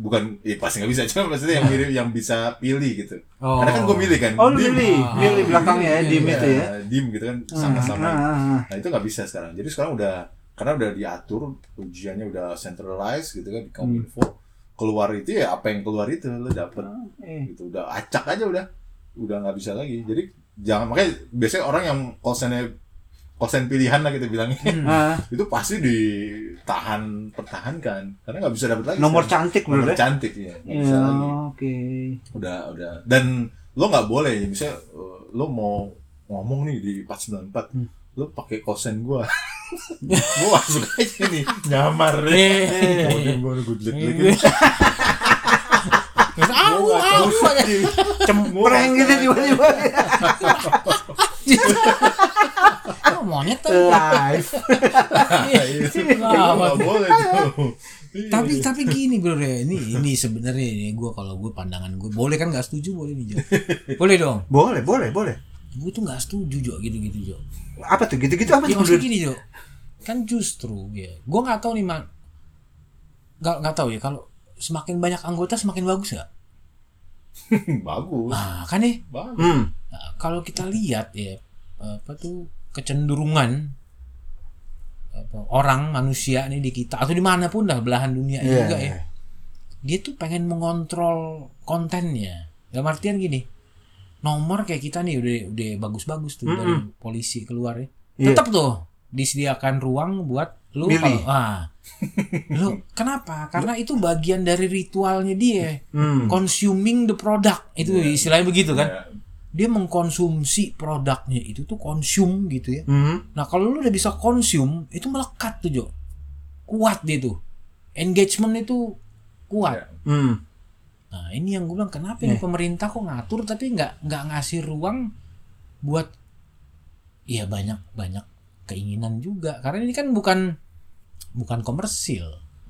Bukan, ya pasti nggak bisa, cuma maksudnya yang mirip yang bisa pilih gitu. Oh. Karena kan gue milih kan. Oh, lu Dim. milih, milih belakangnya ya, dim itu ya. Iya, Dim gitu kan sama-sama. Ah, ah, ah. Nah itu nggak bisa sekarang. Jadi sekarang udah karena udah diatur ujiannya udah centralized gitu kan di kominfo Hmm. keluar itu ya apa yang keluar itu lo dapet Eh. gitu udah acak aja udah udah nggak bisa lagi jadi jangan makanya biasanya orang yang kosennya kosen pilihan lah kita bilangnya Ah, itu pasti ditahan pertahankan karena nggak bisa dapet lagi Nomor sekarang. cantik nomor menurut ya. cantik ya nggak bisa Iya, lagi Oke. udah udah dan lo nggak boleh misalnya eh, lo mau ngomong nih di 494 Hmm. lo pakai kosen gua gua masuk aja nih nyamar deh gua gue gudlet Iya. Terus, Ya, kan? Au, au, au. Cempreng gitu tiba-tiba. Oh, Monyet tuh. Live. Iya. Iya. Gua Nah, nggak boleh tuh iya. tapi tapi gini bro ya ini ini sebenarnya ini gue kalau gue pandangan gue boleh kan nggak setuju boleh nih Jo boleh dong Boleh, boleh, boleh. gue tuh nggak setuju Jo gitu-gitu Jo Apa tuh gitu-gitu apa ya tuh? maksudnya gini Jo kan justru ya gue nggak tahu nih man nggak nggak tahu ya kalau semakin banyak anggota semakin bagus nggak Iya, bagus nah kan nih bagus Hmm. nah, kalau kita lihat ya apa tuh kecenderungan apa, orang manusia nih di kita atau dimanapun dah belahan dunia ini Iya, juga iya. ya dia tuh pengen mengontrol kontennya dalam artian gini nomor kayak kita nih udah udah bagus-bagus tuh dari polisi keluar ya Iya. tetap tuh disediakan ruang buat lu Milih. kalau ah lu kenapa karena itu bagian dari ritualnya dia Hmm. consuming the product itu Iya. istilahnya begitu kan Ya, dia mengkonsumsi produknya itu tuh konsum gitu ya Hmm. Nah kalau lu udah bisa konsum itu melekat tuh Jo. Kuat dia tuh. Engagement itu kuat. Hmm. Nah ini yang gue bilang kenapa Eh. ini pemerintah kok ngatur tapi nggak nggak ngasih ruang buat ya banyak banyak keinginan juga. Karena ini kan bukan bukan komersil.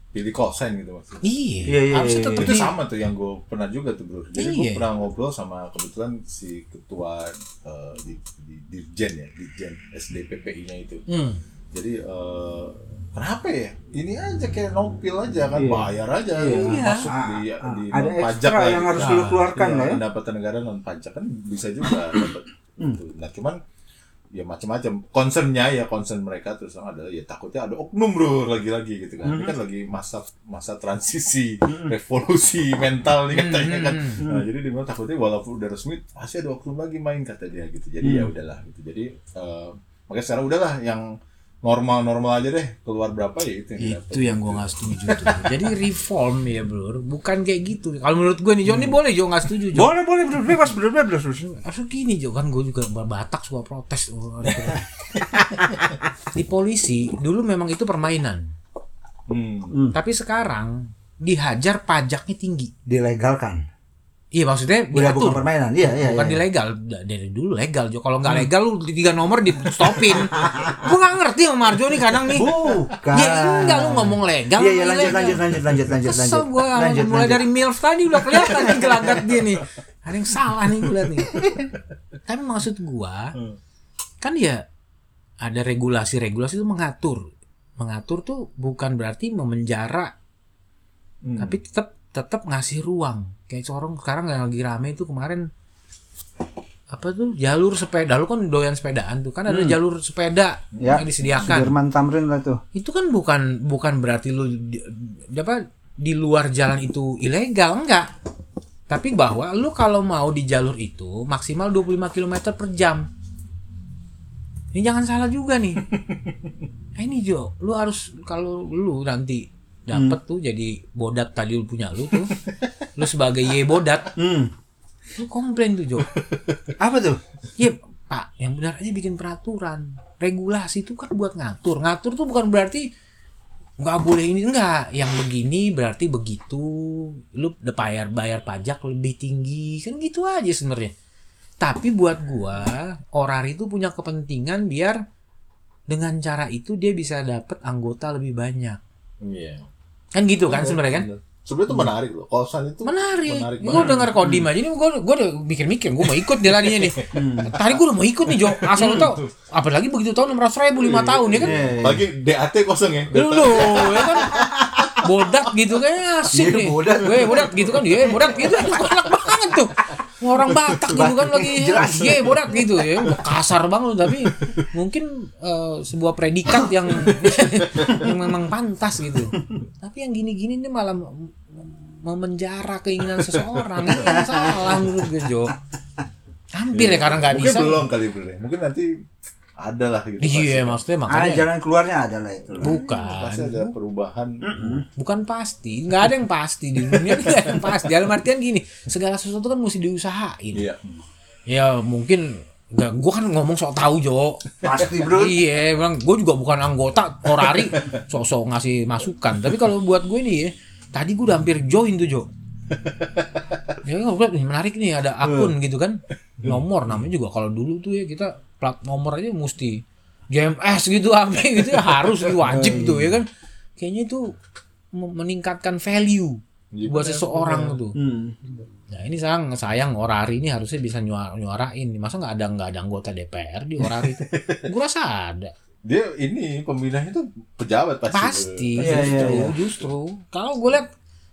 pilih kosen gitu maksudnya Iya. Iya, iya, harusnya iya, tetap itu di- sama tuh yang gue pernah juga tuh bro jadi gue Iya. pernah ngobrol sama kebetulan si ketua eh, di, di dirjen ya dirjen SDPPI nya itu Hmm. jadi eh, kenapa ya ini aja kayak nopil aja kan bayar aja Iya. masuk Ah, di, ah, di ada non-pajak ekstra lah yang gitu. harus lu keluarkan iya, lah ya. pendapatan negara non pajak kan bisa juga dapat itu. nah cuman ya macam-macam concernnya ya concern mereka terus terang adalah ya takutnya ada oknum bro lagi-lagi gitu kan ini kan lagi masa masa transisi revolusi Iya, Hmm, mental nih katanya kan Nah, jadi dia bilang takutnya walaupun udah resmi Hmm. pasti ada oknum lagi main kata dia gitu jadi ya udahlah gitu jadi eh, makanya sekarang udahlah yang normal-normal aja deh keluar berapa ya itu yang Itu yang gue nggak setuju tuh. Jadi reform ya bro, bukan kayak gitu. Kalau menurut gue nih Jo, ini boleh Jo nggak setuju Jo. Hmm. Boleh, boleh, bener bebas, bener bebas. bener. Harus gini Jo kan gue juga Batak suka protes. di polisi dulu memang itu permainan, Hmm. tapi sekarang dihajar pajaknya tinggi. Dilegalkan. Iya maksudnya Udah diatur. bukan permainan. Iya, iya. bukan iya. ilegal dari dulu legal Jo kalau nggak legal lu di tiga nomor di stopin gua nggak ngerti sama Marjo nih kadang nih Bukan. ya enggak lu ngomong legal Iya, iya, lu lanjut, ilegal. lanjut, lanjut, lanjut, lanjut, kesel lanjut. gua Lanjut, mulai lanjut. dari milf tadi udah kelihatan nih gelagat dia nih ada yang salah nih gue liat nih tapi maksud gua kan ya ada regulasi-regulasi itu mengatur mengatur tuh bukan berarti memenjara Hmm. tapi tetap tetap ngasih ruang kayak corong sekarang yang lagi rame itu kemarin apa tuh jalur sepeda lu kan doyan sepedaan tuh kan ada jalur sepeda Hmm. Ya, yang disediakan Sudirman Tamrin lah tuh. itu kan bukan bukan berarti lu di, di- apa di luar jalan itu ilegal enggak tapi bahwa lu kalau mau di jalur itu maksimal 25 km per jam ini jangan salah juga nih Nah, ini Jo lu harus kalau lu nanti dapet tuh jadi bodat tadi lu punya lu tuh lu sebagai ye bodat Hmm. lu komplain tuh Jo Apa tuh? Ya Pak, yang benar aja bikin peraturan. Regulasi itu kan buat ngatur. Ngatur tuh bukan berarti nggak boleh ini enggak. Yang begini berarti begitu. Lu udah bayar bayar pajak lebih tinggi kan gitu aja sebenarnya. Tapi buat gua Orari itu punya kepentingan biar dengan cara itu dia bisa dapet anggota lebih banyak. Iya. Kan gitu kan sebenarnya kan? Bener. Sebenarnya itu menarik loh. Kosan itu menarik. gue banget. dengar kodim aja nih, gue gue udah mikir-mikir, gue mau ikut dia larinya nih. Tadi gue udah mau ikut nih Jo, asal lo tau. Apalagi begitu tahun enam ratus ribu lima tahun Iya, ya kan, Lagi DAT kosong ya. lu lu, ya kan. Bodak gitu kan asik Iya, nih. bodak. Gue bodak gitu kan, ya bodak gitu enak banget tuh. Orang Batak gitu kan lagi Jelas. Iya bodak gitu ya kasar banget tapi mungkin eh, sebuah predikat yang yang memang pantas gitu. Tapi yang gini-gini ini malah mem- memenjara keinginan seseorang ini yang salah menurut gue Jo. Hampir ya karena nggak Mungkin bisa. belum kali belum. Mungkin nanti ada lah gitu. Iya pasti. maksudnya Ada makanya Ah, jalan keluarnya ada lah itu. lah. bukan Pasti ada perubahan. bukan pasti nggak ada yang pasti di dunia ini nggak ada yang pasti dalam artian gini segala sesuatu kan mesti diusahain Iya. ya mungkin nggak gue kan ngomong sok tahu Jo Pasti bro. iya bang gue juga bukan anggota orari sok-sok ngasih masukan tapi kalau buat gue nih ya tadi gue udah hampir join tuh Jo ya gue liat, "Ih, menarik nih ada akun gitu kan nomor namanya juga kalau dulu tuh ya kita plat nomor aja mesti JMS gitu apa gitu ya harus gitu, wajib tuh ya kan kayaknya itu me- meningkatkan value buat seseorang tuh Hmm. Nah ini sayang, sayang Orari ini harusnya bisa nyuara, nyuarain. Masa nggak ada nggak ada anggota DPR di Orari itu? Gue rasa ada. Dia ini pembinanya tuh pejabat pasti. Pasti. Iya, iya, justru, iya. justru. Kalau gue lihat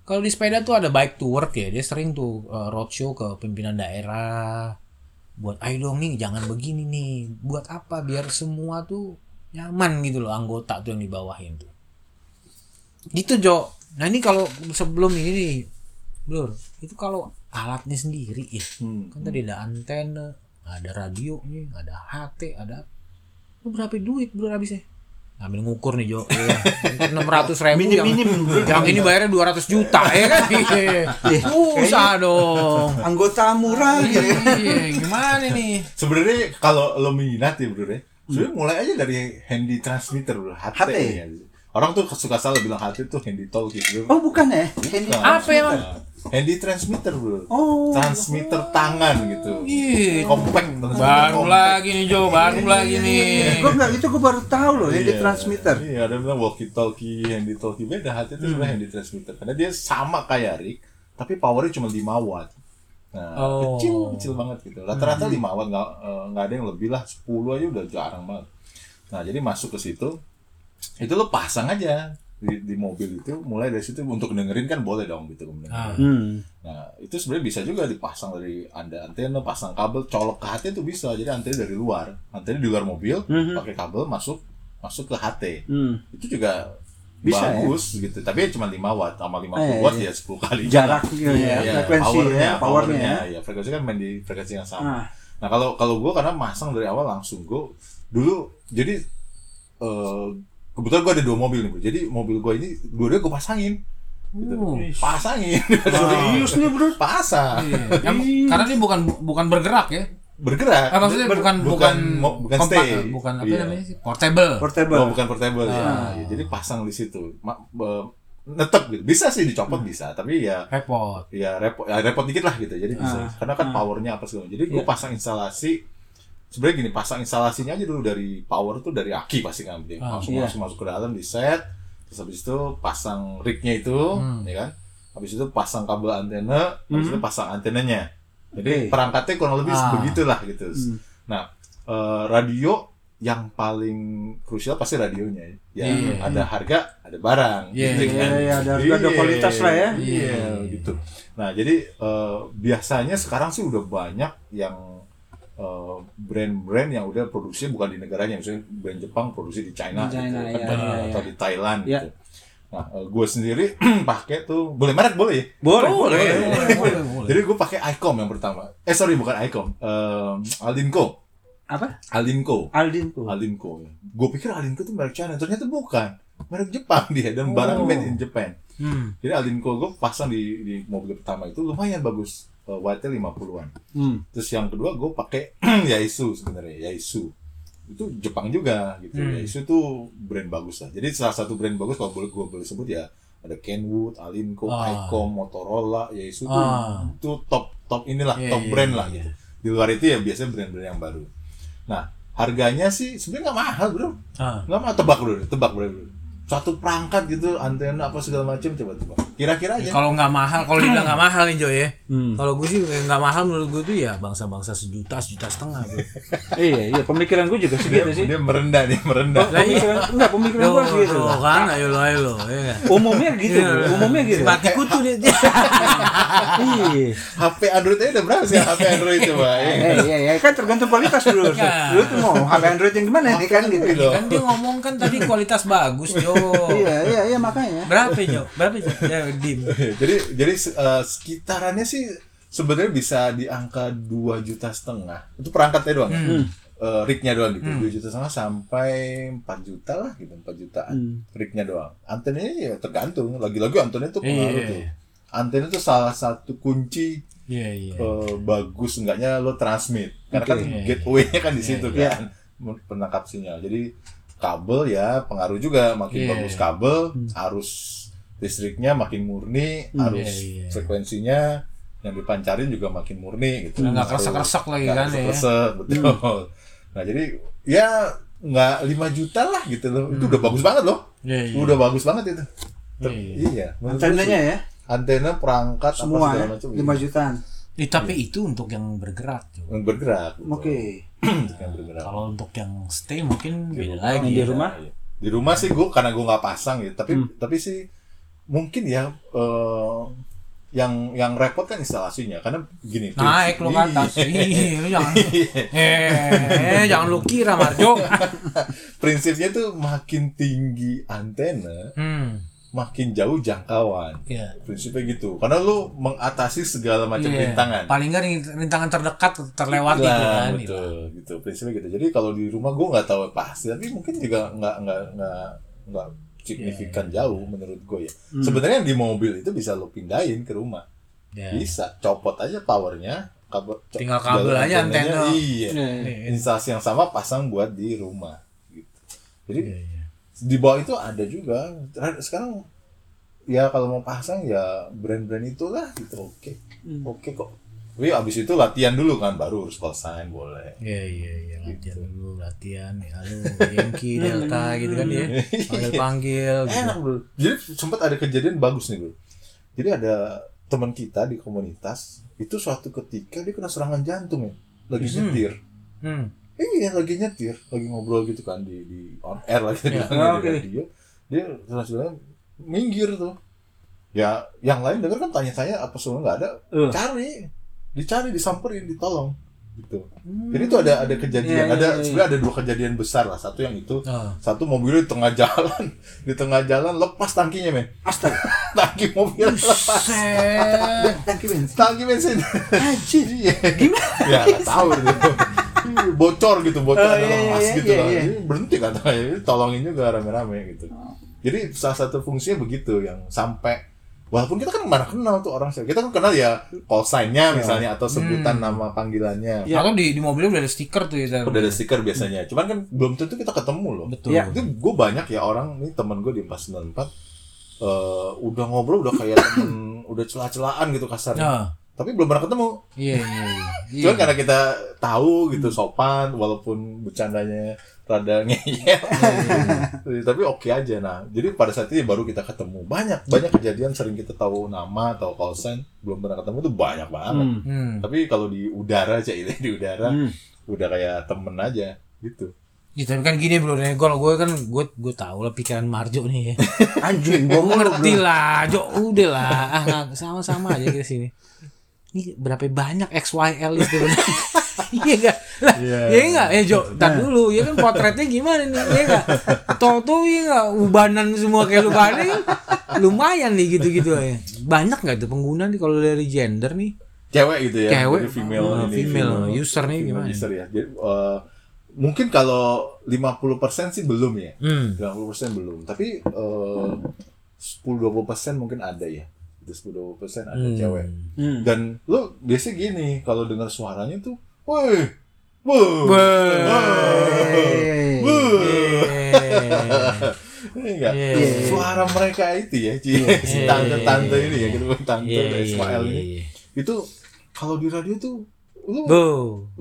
kalau di sepeda tuh ada bike to work ya. Dia sering tuh eh, roadshow ke pimpinan daerah. Buat ayo dong nih jangan begini nih. Buat apa biar semua tuh nyaman gitu loh anggota tuh yang dibawahin tuh. Gitu Jo. Nah ini kalau sebelum ini nih Blur, itu kalau alatnya sendiri ya. Hmm. Kan tadi ada antena, ada radio nih, ada HT, ada lu berapa duit bro habisnya? Ambil ngukur nih Jo. Iya. Enam ratus ribu yang, Minim-minim. yang ini bayarnya 200 juta ya kan? Iya. Susah dong. Anggota murah gitu. Iya, gimana nih? Sebenarnya kalau lo minat ya Hmm. bro ya. Sebenarnya mulai aja dari handy transmitter bro. HT. HT. ya. Orang tuh suka salah bilang HT tuh handy talkie bro. Oh bukan ya? Handy. Apa emang? Handy transmitter bro. Oh. Transmitter tangan gitu. Iya. Compact. Baru compact. lagi nih Jo, baru lagi nih. Gue nggak itu gue baru tahu loh handy Iya. transmitter. Iya, ada yang bilang walkie talkie, handy talkie. Beda hati itu Hmm. sebenarnya handy transmitter. Karena dia sama kayak Rick, tapi powernya cuma 5 watt. Nah, Oh. Hmm. kecil kecil banget gitu. Rata-rata 5 watt nggak eh, nggak ada yang lebih lah. 10 aja udah jarang banget. Nah, jadi masuk ke situ itu lo pasang aja di, di mobil itu mulai dari situ untuk dengerin kan boleh dong Ah. gitu kemudian. Hmm. Nah, itu sebenarnya bisa juga dipasang dari anda antena, pasang kabel, colok ke HT itu bisa. Jadi antena dari luar, antena di luar mobil, Hmm. Mhm. pakai kabel masuk masuk ke HT. Hmm. Itu juga Bisa, bagus gitu. Tapi ya cuma 5 watt sama 50 Eh, watt iya. ya 10 kali. Jarak gitu ya, frekuensi Iya, powernya, ya, powernya. ya. Frekuensi kan main di frekuensi yang sama. Ah. Nah, kalau kalau gua karena masang dari awal langsung gua dulu jadi eh eh, kebetulan gue ada dua mobil nih, Bu. jadi mobil gue ini dua-dua gue pasangin, gitu. Oh. Uh, pasangin, Serius nih bro pasang, Em- iya. karena ini bukan bukan bergerak ya. bergerak, Ah, maksudnya Ber- bukan bukan mo- bukan kompak, stay. bukan apa Iya. namanya sih? Portable. Oh, Portable bukan portable ya. Ya, Jadi pasang di situ. Ma- be- netep gitu. Bisa sih dicopot bisa, tapi ya Repot. ya repot ya repot dikit lah gitu. Jadi bisa. Ah, Karena kan powernya apa segala. Jadi Iya. gua pasang instalasi sebenarnya gini, pasang instalasinya aja dulu dari power tuh dari aki pasti ngambil. langsung iya. langsung masuk ke dalam di set. Terus habis itu pasang rignya itu, Hmm. ya kan? Habis itu pasang kabel antena, habis itu pasang antenanya. Jadi Oke. Hmm. perangkatnya kurang lebih Ah. begitulah gitu. Nah, eh, radio yang paling krusial pasti radionya ya. Ya, Iya. ada harga, ada barang. Iya, iya, iya, ada harga, ada Iya, kualitas lah ya. Iya, gitu. Nah, jadi eh, biasanya sekarang sih udah banyak yang eh, brand-brand yang udah produksi bukan di negaranya, misalnya brand Jepang produksi di China, Di China, gitu, iya, kan, iya, atau iya. di Thailand Iya. gitu. Nah, gue sendiri pakai tuh boleh merek boleh. ya? Boleh Oh, Boleh boleh, boleh. Jadi gue pakai Icom yang pertama. Eh sorry bukan eh, Icom, Em, Alinco. Apa? Alinco. Aldin tuh Alinco ya. Gue pikir Alinco itu merek China, ternyata bukan. Merek Jepang dia dan barang Oh. made in Japan. Hmm. Jadi Alinco gue pasang di di mobil pertama itu lumayan bagus. Uh, wattnya 50-an. Hmm. Terus yang kedua gue pakai Yaisu sebenarnya, Yaisu. Itu Jepang juga gitu. Hmm. Yaisu tuh brand bagus lah. Jadi salah satu brand bagus kalau boleh gue boleh sebut ya ada Kenwood, Alinco, Ah. Icom, Motorola, Yaisu tuh Ah. itu top top inilah, Iya, top iya, brand iya, lah gitu. Di luar itu ya biasanya brand-brand yang baru. Nah, harganya sih sebenarnya nggak mahal, Bro. Ah. Nggak mau tebak bro, tebak bro. Satu perangkat gitu, antena apa segala macam coba tebak. Kira-kira aja. Kalau nggak mahal, kalau dibilang nggak mahal nih Jo ya. Kalau gue sih kayak nggak mahal menurut gue tuh ya bangsa-bangsa sejuta, sejuta setengah. Bro. Iya iya pemikiran gue juga Dia, segitu sih dia merendah nih, merendah. gitu Lah iya. Pemikiran enggak pemikiran Lo, gue gitu? segitu lo kan, ayo lo, ayo lo. Ya kan? Umumnya gitu Iya, bro. Umumnya gitu Mati kutu dia. dia. Iya HP Android aja udah berapa sih HP Android coba? ya? Eh, iya, iya, kan tergantung kualitas dulu. Harus. Iya. Lu tuh mau HP Android yang gimana nih kan gitu. Gitu. kan dia ngomong kan tadi kualitas bagus Jo. Iya, iya, iya makanya. Berapa Jo? Berapa Jo? Ya, dim. jadi jadi eh, sekitarannya sih sebenarnya bisa di angka 2 juta setengah. Itu perangkatnya doang. ya? Hmm. Eh, rignya doang gitu. 2 juta setengah sampai 4 juta lah gitu, 4 jutaan. Hmm. Rignya doang. Antenanya ya tergantung. Lagi-lagi antenanya tuh pengaruh Iya. tuh. Antena itu salah satu kunci Iya iya. eh, bagus enggaknya lo transmit karena kan Oke. gateway-nya kan di situ kan penangkap sinyal jadi kabel ya pengaruh juga makin Iya, bagus iya. kabel arus listriknya makin murni arus Iya, iya. frekuensinya yang dipancarin juga makin murni gitu Nah, Nggak Ngaruh- kresek-kresek lagi nggak kan ya. kresek-kresek, betul nah jadi ya nggak 5 juta lah gitu loh itu udah bagus banget loh Iya iya. udah bagus banget itu Ter- Iya, iya, menurut gua Antenanya sih. ya, antena perangkat apa semua segala ya, macam, iya. 5 jutaan. Ih, Eh, tapi itu untuk yang bergerak. Jo. yang bergerak. betul. Oke. Untuk yang bergerak. Kalau untuk yang stay mungkin beda Yang lagi. ya. di rumah? Iya. Di rumah sih gue karena gue nggak pasang ya, tapi Hmm. tapi sih mungkin ya eh, yang yang repot kan instalasinya karena gini. Naik lo ke atas. Ih, lu jangan. Eh, jangan lu kira Marjo. Prinsipnya tuh makin tinggi antena, Hmm. makin jauh jangkauan. Iya. Prinsipnya gitu. Karena lu mengatasi segala macam Iya. rintangan. Paling nggak ring- rintangan terdekat terlewati Lah, gitu kan. betul gitu prinsipnya gitu jadi kalau di rumah gue nggak tahu pasti tapi mungkin juga nggak nggak nggak nggak signifikan Iya, jauh menurut gue ya Hmm. sebenarnya yang di mobil itu bisa lo pindahin ke rumah Iya. bisa copot aja powernya kabel co- Tinggal kabel jalan aja antena. antenanya, iya Iya. instalasi yang sama pasang buat di rumah gitu Iya, jadi di bawah itu ada juga Ter- sekarang ya kalau mau pasang ya brand-brand itulah gitu oke oke kok tapi abis itu latihan dulu kan baru harus call sign boleh Iya iya iya latihan Gitu. dulu latihan ya lu Yankee Delta gitu kan ya panggil panggil gitu. enak bro jadi sempat ada kejadian bagus nih bro jadi ada teman kita di komunitas itu suatu ketika dia kena serangan jantung ya lagi nyetir Hmm. iya lagi nyetir lagi ngobrol gitu kan di, di on air lagi di, Ah, di oke. radio dia terus bilang minggir tuh ya yang lain denger kan tanya-tanya apa semua nggak ada Eh. cari dicari disamperin ditolong gitu jadi itu ada ada Hmm. Iya, kejadian iya, ada iya. sebenarnya ada dua kejadian besar lah satu yang itu Ah. satu mobilnya di tengah jalan di tengah jalan lepas tangkinya men Astaga, tangki mobil lepas Set. thank you, Ben. tangki bensin Anjir. iya Gimana? ya nggak tahu itu bocor gitu bocor Oh, dalam iya, iya, as gitu iya, lah. iya. Oh. Ini berhenti katanya Ini tolongin juga rame-rame gitu jadi salah satu fungsinya begitu yang sampai walaupun kita kan mana kenal tuh orang siapa. kita kan kenal ya call sign-nya misalnya atau sebutan nama Hmm. panggilannya Iya. Atau di di mobilnya udah ada stiker tuh ya. udah ada stiker biasanya cuman kan belum tentu kita ketemu loh Betul. Iya. itu gue banyak ya orang nih temen gue di 494 eh udah ngobrol udah kayak temen, udah celah-celahan gitu Ya. kasarnya Nah, tapi belum pernah ketemu iya iya iya. Iya. Cuman karena kita tahu gitu Hmm. sopan walaupun bercandanya rada ngeyel. Iya, Tapi oke aja nah. Jadi pada saat itu baru kita ketemu. Banyak banyak kejadian sering kita tahu nama atau call sign belum pernah ketemu tuh banyak banget. Hmm. Hmm. Tapi kalau di udara aja ini di udara Hmm. udah kayak temen aja gitu. Ya, tapi kan gini bro, nih kalau gue kan gue gue tahu lah pikiran Marjo nih ya. Anjing, Gue bohong lu, ngerti bro. lah, Jo udah lah, Ah, nggak, sama-sama aja ke sini. Ini berapa banyak XYL itu bener. Iya enggak? Lah, iya enggak? Eh Jo, tar dulu. Ya kan potretnya gimana nih? Iya enggak? Toto iya enggak ubanan semua kayak lu kan ini Lumayan nih gitu-gitu aja. Banyak enggak tuh pengguna nih kalau dari gender nih? Cewek gitu ya. Cewek. Jadi female, Oh, ini, female. User nih female gimana? User ya. Jadi eh, mungkin kalau 50% sih belum ya. Hmm. 90% belum, tapi eh 10-20% mungkin ada ya. Ada 10-20% ada cewek. Hmm. Dan lu biasa gini, kalau dengar suaranya tuh, woi, wuh, Hey. Iya, Eh, enggak. Iya. Suara mereka itu ya, Ci. si tante-tante ini ya, gitu, tante Iya, iya, Ismail iya, ini. iya. Itu kalau di radio tuh lu Bo.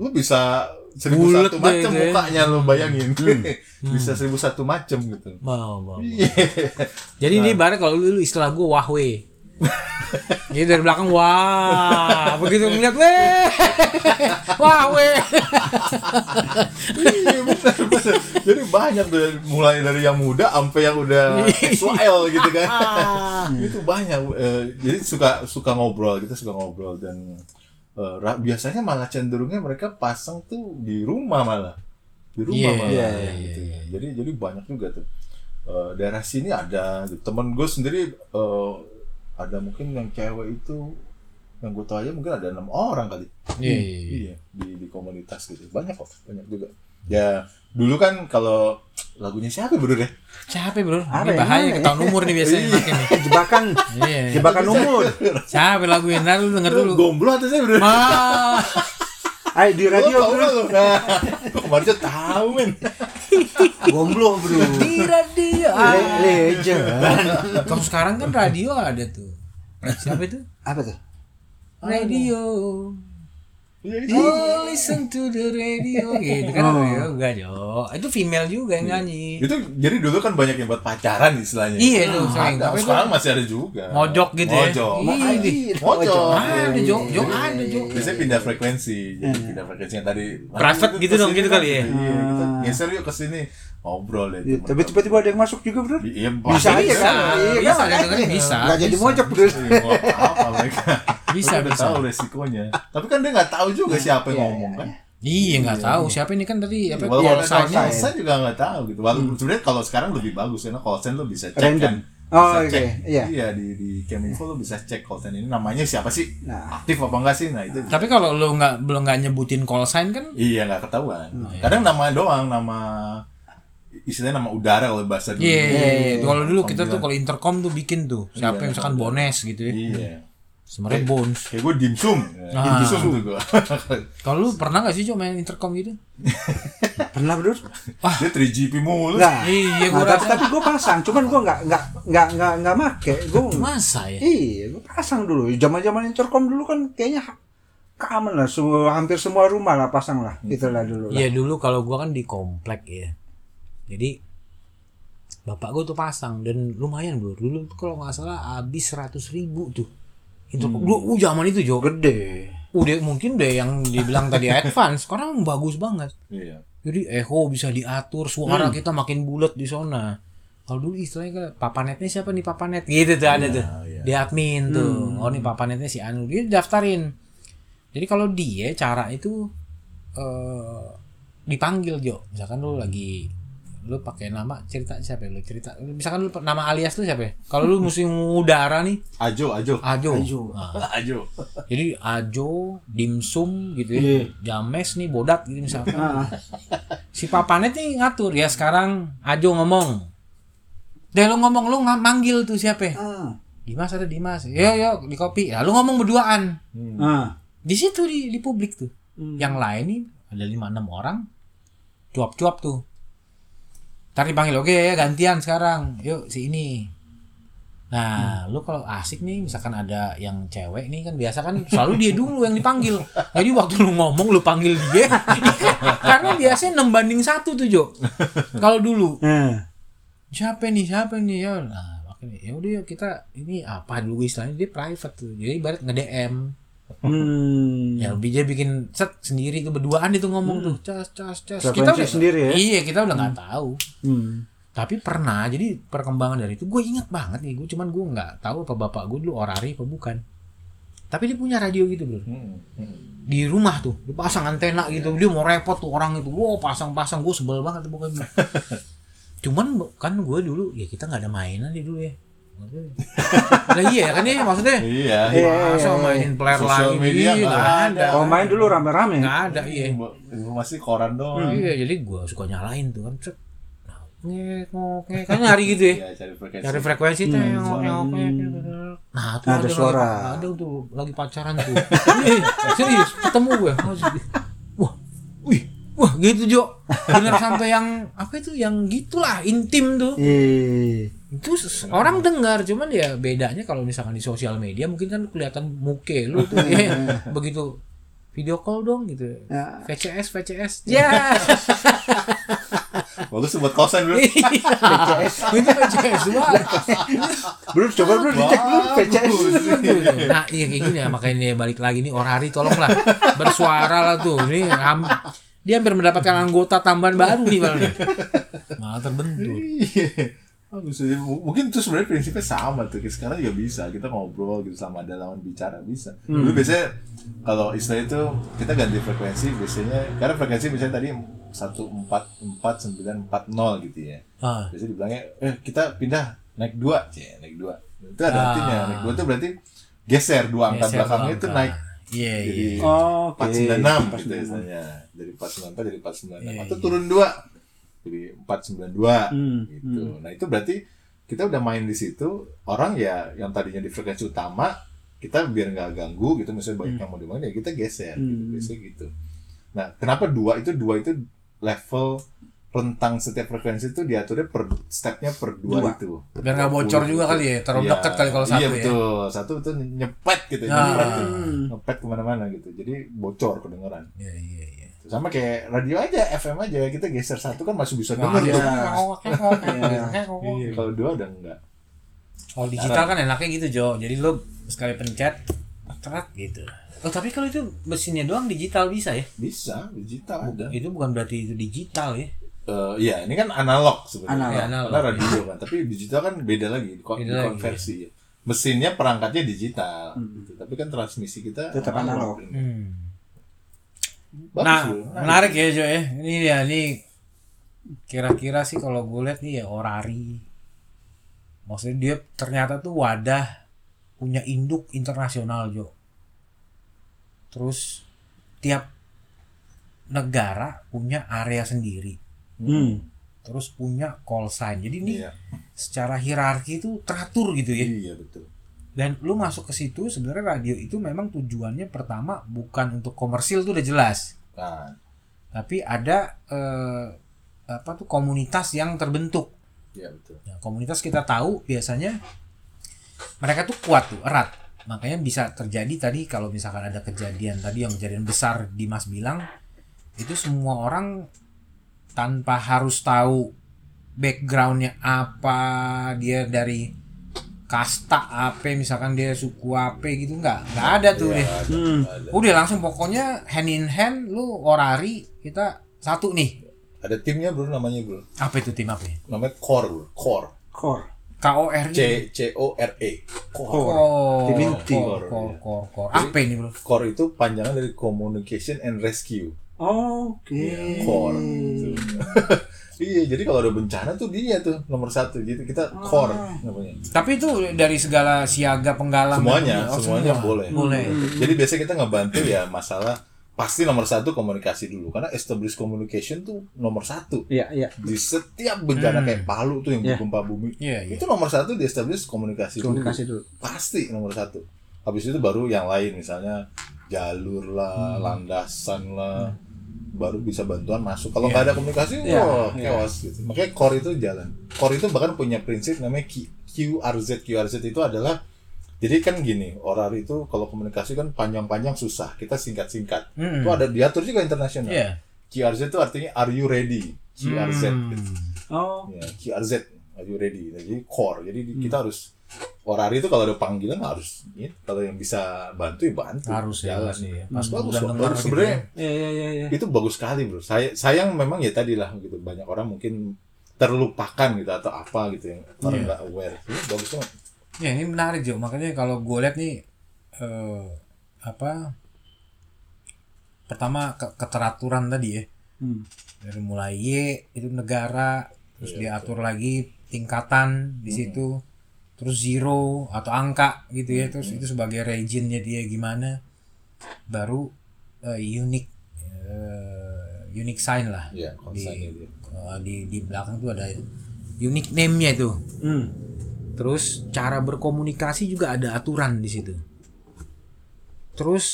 lu bisa seribu Bulet satu deh macam itu ya. mukanya lu bayangin. bisa seribu satu macam gitu. Mau, mau. Iya. Jadi Nah. ini ibarat kalau dulu istilah gue wahwe. Jadi dari belakang wah, begitu ngeliat weh. Wahwe. Iya benar benar. Jadi banyak tuh mulai dari yang muda sampai yang udah XYL gitu kan. itu banyak. Eh, jadi suka suka ngobrol kita suka ngobrol dan eh, ra- biasanya malah cenderungnya mereka pasang tuh di rumah malah di rumah Iya, malah. iya, gitu. Jadi jadi banyak juga tuh. Eh, daerah sini ada gitu. temen gue sendiri eh, ada mungkin yang cewek itu yang gue tahu aja mungkin ada enam orang kali Iya, iya, iya. Iya, di, di komunitas gitu. Banyak kok, banyak juga. Ya, dulu kan kalau lagunya siapa bro ya? deh? Capek bro, Apa ini ya? bahaya ketahuan umur nih biasanya makin nih. Jebakan, Iya. jebakan umur. Capek lagu ini, ntar lu denger dulu. Gomblo atau saya bro? Mah. Ayo di Lo iya, radio tau bro, gak lo? Nah, kok kemarin aja tau men. gomblo bro. Di radio. Le ah. legend. Kalau sekarang kan radio ada tuh. Siapa itu? Apa tuh? Radio. Iya, itu. Oh, listen to the radio. Gitu kan Oh. radio enggak, Jo. Itu female juga yang nyanyi. Itu jadi dulu kan banyak yang buat pacaran istilahnya. Iya, itu sering. Ada, Tapi itu- sekarang masih ada juga. Mojok gitu ya. Mojok. Iya. Air, Mojok. ojol. Ah, Ada, Jo. iya, Jo ada, Jo. Hmm. Biasanya pindah frekuensi, jadi pindah frekuensi yang tadi. Private Nah, gitu kesini dong, gitu kan. kali ya? Iya, kita geser yuk ke sini. Ngobrol deh. Iya, temen-temen. Tapi tiba-tiba ada yang masuk juga bro. Iya, Bisa pasti. aja bisa. kan? Bisa, kan, ada yang makanya. bisa. Nggak jadi Bisa. mojok bro. Iya, mau apa mereka Bisa, Mereka udah bisa. tahu resikonya tapi kan dia nggak tahu juga siapa yang ngomong kan Iya nggak tahu siapa ini kan tadi apa Walau Iya, kalau call sign-nya. sign juga nggak tahu gitu. Walaupun Hmm. sebenarnya kalau sekarang lebih bagus karena call sign lo bisa cek Random. kan. Oh, Bisa oke, cek. iya. Iya di di Keminfo lo bisa cek call sign ini namanya siapa sih? Nah. Aktif apa enggak sih? Nah itu. bisa. Tapi kalau lu nggak belum nggak nyebutin call sign kan Iya nggak ketahuan. Oh, Kadang nama doang nama istilahnya nama udara kalau bahasa Iya, iya, iya. Iya. Kalau dulu kita tuh kalau intercom tuh bikin tuh siapa yang misalkan bones gitu ya. Iya. Sebenarnya bones. Kayak gue dimsum. Ah. Dimsum tuh gue. Kalau lu pernah nggak sih Jo main intercom gitu? Pernah bro? Ah. Dia 3GP mulu. Nah, Iya, gua nah, tapi, rasa. tapi gue pasang, cuman gue nggak nggak nggak nggak nggak make. Gue Masa ya? Hmm. iya, gue pasang dulu. Zaman-zaman intercom dulu kan kayaknya ha- keaman lah, semua hampir semua rumah lah pasang lah, gitulah dulu. Lah. Iya dulu kalau gua kan di komplek ya. Jadi bapak gua tuh pasang dan lumayan bro. Dulu tuh kalau nggak salah habis 100 ribu tuh. Intercom. Dulu uh, zaman itu Jo. Gede. Udah mungkin deh yang dibilang tadi advance. Sekarang bagus banget. Iya. Jadi echo bisa diatur, suara kita makin bulat di sana. Kalau dulu istilahnya kan papanetnya siapa nih papanet gitu tuh ada tuh. Di admin tuh. Oh nih papanetnya si Anu. Dia daftarin. Jadi kalau dia cara itu eh dipanggil Jo. Misalkan lu lagi lu pakai nama cerita siapa ya? lu cerita misalkan lu nama alias tuh siapa ya? kalau lu musim udara nih Ajo, Ajo. Ajo, Nah, Ajo. jadi Ajo dimsum gitu ya James nih bodak gitu misalkan Ah, si papanet nih ngatur ya sekarang Ajo ngomong deh lu ngomong lu nga- manggil tuh siapa ya? ah, Dimas ada Dimas yo yo di kopi ya lu ngomong berduaan ah. di situ di, di publik tuh Hmm. yang lain nih ada lima enam orang cuap-cuap tuh Ntar dipanggil oke ya gantian sekarang yuk si ini nah lu kalau asik nih misalkan ada yang cewek nih kan biasa kan selalu dia dulu yang dipanggil jadi waktu lu ngomong lu panggil dia karena biasanya 6 banding satu tuh Jo kalau dulu Ah. siapa nih siapa nih ya nah makanya ya udah yuk, kita ini apa dulu istilahnya dia private tuh jadi ibarat nge DM Hmm. Ya lebih dia Iya. bikin set sendiri tuh berduaan itu ngomong tuh Hmm. cas cas cas. Frekuensi Kita udah sendiri ya? Iya kita udah nggak tahu. Hmm. Tapi pernah jadi perkembangan dari itu gue ingat banget nih gue cuman gue nggak tahu apa bapak gue dulu orari apa bukan. Tapi dia punya radio gitu bro Hmm. Hmm. di rumah tuh dia pasang antena gitu Iya. dia mau repot tuh orang itu wow pasang pasang gue sebel banget bukan cuman kan gue dulu ya kita nggak ada mainan di dulu ya lah iya kan ya maksudnya Iya. masa mainin player Sosial lagi media Iya, nggak nggak ada. ada Oh main dulu rame-rame. nggak ada iya Informasi koran doang. Iya, jadi gua suka nyalain tuh kan. Cet. Nah, ngek, ngek. Kan nyari gitu ya. Iya, cari frekuensi. Cari frekuensi teh. ngok, ngok, ngek, gitu. Nah, tuh Hmm. Ada suara. Lagi, ada tuh lagi pacaran tuh. Iya, serius, ketemu gue. Wah. Wih. Wah, gitu Jo. Bener sampai yang apa itu yang gitulah intim tuh. Ih. Itu s- orang dengar, cuman ya bedanya kalau misalkan di sosial media mungkin kan kelihatan muke lu tuh ya. begitu video call dong gitu. Ya. VCS VCS. Iya, Ya. Bagus tuh buat kosan dulu. Iya. PCS. Itu PCS doang. Belum coba belum dicek belum PCS. Nah, iya kayak gini ya makanya dia balik lagi nih Orari tolonglah bersuara lah tuh. Ini ham- dia hampir mendapatkan anggota tambahan baru nih malah. nih. Malah terbentur. Oh, bisa jadi. M- mungkin itu sebenarnya prinsipnya sama tuh. Kayak Sekarang juga bisa kita ngobrol gitu sama ada lawan bicara bisa. Hmm. Dulu biasanya kalau istilah itu kita ganti frekuensi biasanya karena frekuensi misalnya tadi satu empat empat sembilan empat nol gitu ya. Ah, Biasanya dibilangnya eh kita pindah naik dua, Cie, naik dua. Itu ada Ah. artinya naik dua itu berarti geser dua angka geser belakangnya dua itu angka. naik. Iya, iya. Jadi Oh, oke. empat sembilan enam gitu ya istilahnya dari empat sembilan empat jadi empat sembilan enam Iya, atau iya. turun dua jadi empat sembilan dua Hmm, gitu nah itu berarti kita udah main di situ orang ya yang tadinya di frekuensi utama kita biar nggak ganggu gitu misalnya banyak yang mau dimana ya kita geser gitu Hmm. biasanya gitu nah kenapa dua itu dua itu level rentang setiap frekuensi itu diaturnya per stepnya per dua, Dua. itu Biar nggak bocor juga kali ya, terlalu Iya, dekat kali kalau satu iya, ya. betul satu itu nyepet gitu Ah. nyepet tuh. Hmm. ngepet kemana-mana gitu jadi bocor kedengeran gitu. Iya, iya, iya. sama kayak radio aja FM aja kita geser satu kan masih bisa Nah, denger iya. tuh Iya. ya. Iya, kalau dua udah enggak Kalau digital kan enaknya gitu Jo. Jadi lo sekali pencet, terat gitu. Oh tapi kalau itu mesinnya doang digital bisa ya? bisa digital ada Itu bukan berarti itu digital ya? Eh, iya ini kan analog sebenarnya Analog. Ya, analog. karena radio kan tapi digital kan beda lagi ko- Beda lagi, konversi mesinnya perangkatnya digital gitu. tapi kan transmisi kita Hmm. Tetap analog. Hmm. Bagus nah, loh. menarik ya Jo ya. Ini ya ini kira-kira sih kalau gue lihat nih ya orari. Maksudnya dia ternyata tuh wadah punya induk internasional Jo. Terus tiap negara punya area sendiri. Hmm. Terus punya call sign. Jadi ini iya secara hierarki itu teratur gitu ya. iya betul Dan lu masuk ke situ sebenarnya radio itu memang tujuannya pertama bukan untuk komersil tuh udah jelas. nah tapi ada eh, apa tuh komunitas yang terbentuk. iya betul Nah, komunitas kita tahu biasanya mereka tuh kuat tuh erat, makanya bisa terjadi tadi kalau misalkan ada kejadian tadi yang kejadian besar Dimas bilang itu semua orang tanpa harus tahu backgroundnya apa dia dari kasta apa misalkan dia suku apa gitu nggak nggak ada tuh deh Iya, Ada, Hmm. ada. udah langsung pokoknya hand in hand lu orari kita satu nih ada timnya bro namanya bro apa itu tim apa ya? namanya core bro core Core. KOR C C O R E core Kor, Tim inti. kor, kor, kor, kor. Apa ini bro? Core itu panjangan dari Communication and Rescue. Oke. Eh. core gitu. iya jadi kalau ada bencana tuh dia tuh nomor satu jadi kita Ah. core namanya Tapi itu dari segala siaga penggalang dan- semuanya oh, semuanya semua. boleh Boleh. jadi biasanya kita ngebantu ya masalah pasti nomor satu komunikasi dulu karena established communication tuh nomor satu Iya, iya. di setiap bencana kayak Palu tuh yang Iya. gempa bumi Hmm. Iya, iya. itu nomor satu di establish komunikasi, dulu. Komunikasi dulu. pasti nomor satu habis itu baru yang lain misalnya jalur lah landasan lah baru bisa bantuan masuk kalau nggak ada komunikasi wah chaos gitu makanya core itu jalan core itu bahkan punya prinsip namanya Q- QRZ QRZ itu adalah jadi kan gini orar itu kalau komunikasi kan panjang-panjang susah kita singkat-singkat itu ada diatur juga internasional Iya. QRZ itu artinya are you ready QRZ Hmm. gitu. Oh. Ya, QRZ, are you ready? Jadi core. Jadi di- Hmm. kita harus Orari itu kalau ada panggilan harus ini. kalau yang bisa bantu ya bantu. Harus ya, jalan harus ya. Pas Pas bagus, bulan bagus. tengah gitu ya. sebenarnya Iya iya iya iya. itu bagus sekali, Bro. Saya sayang memang ya tadi lah gitu banyak orang mungkin terlupakan gitu atau apa gitu yang orang Iya. nggak aware. Ini bagus banget. Ya ini menarik Jo, makanya kalau gue lihat nih eh, apa pertama ke- keteraturan tadi ya Hmm. dari mulai Y itu negara terus Iya, diatur lagi tingkatan Hmm. di situ terus zero atau angka gitu ya Hmm, terus itu sebagai regionnya dia gimana baru eh, unique eh, unique sign lah Iya, konsennya di, dia. eh, di di belakang tuh ada unique name-nya itu Terus cara berkomunikasi juga ada aturan di situ. Terus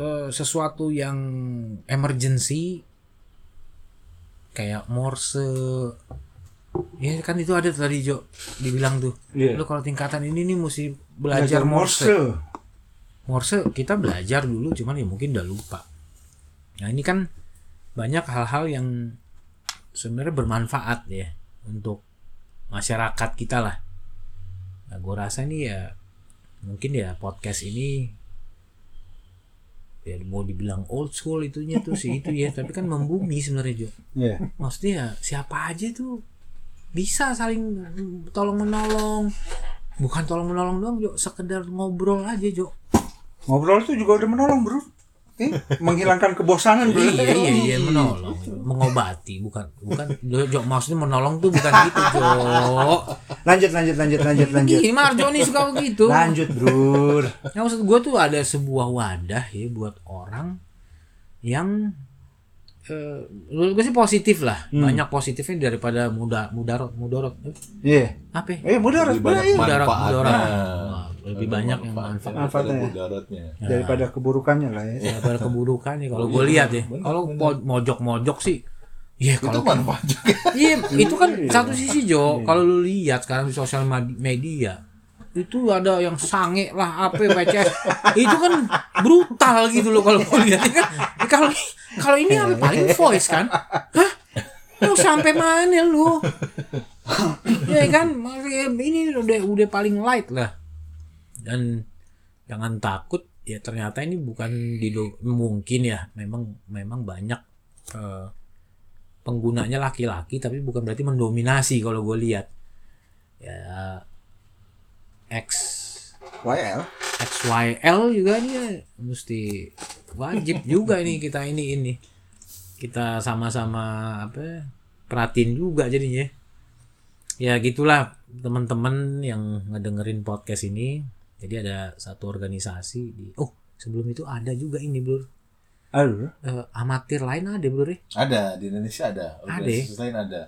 eh, sesuatu yang emergency kayak Morse ya kan itu ada tadi Jo dibilang tuh. Iya. Lu kalau tingkatan ini nih mesti belajar, Morse. Morse kita belajar dulu cuman ya mungkin udah lupa. Nah ini kan banyak hal-hal yang sebenarnya bermanfaat ya untuk masyarakat kita lah. Nah, gue rasa ini ya mungkin ya podcast ini ya mau dibilang old school itunya tuh sih itu ya tapi kan membumi sebenarnya Jo. Iya. Maksudnya ya siapa aja tuh bisa saling tolong menolong bukan tolong menolong doang Jo sekedar ngobrol aja Jo Ngobrol tuh juga udah menolong, Bro. Eh, menghilangkan kebosanan, Bro. iya iya iya menolong mengobati bukan bukan Jo, Jo, maksudnya menolong tuh bukan gitu Jo Lanjut, lanjut, lanjut, lanjut, lanjut. Ih, Mar Jo nih suka begitu Iya. Lanjut, Bro. Nah, maksud gue tuh ada sebuah wadah ya buat orang yang eh, menurut gue sih positif lah Hmm. banyak positifnya daripada muda mudarot mudorot Eh, Iya. apa ya? Eh, mudah Jadi banyak Mudarat, manfaatnya. Nah, mudarat. Wah, lebih banyak yang manfaat. Manfaatnya. Manfaatnya. Mudaratnya. daripada keburukannya lah ya. daripada keburukan ya Oh, kalau gue iya. lihat ya kalau po- mojok-mojok sih ya Itu kalau manfaat juga. Iya, itu kan satu sisi Jo. Kalau lu lihat sekarang di sosial mad- media, itu ada yang sange lah apa PCS. itu kan brutal gitu loh kalau gua lihat. Ya kan? Kalau kalau ini apa paling voice kan? Hah? Lu sampai mana lu? ya kan, Maksudnya ini udah udah paling light lah. Dan jangan takut ya ternyata ini bukan di mungkin ya memang memang banyak eh, penggunanya laki-laki tapi bukan berarti mendominasi kalau gue lihat ya X YL. XYL juga dia mesti wajib juga ini kita ini ini kita sama-sama apa perhatiin juga jadinya ya gitulah teman-teman yang ngedengerin podcast ini jadi ada satu organisasi di oh sebelum itu ada juga ini blur Aduh. Eh, amatir lain ada blur ya Ada di Indonesia ada. Organisasi lain ada.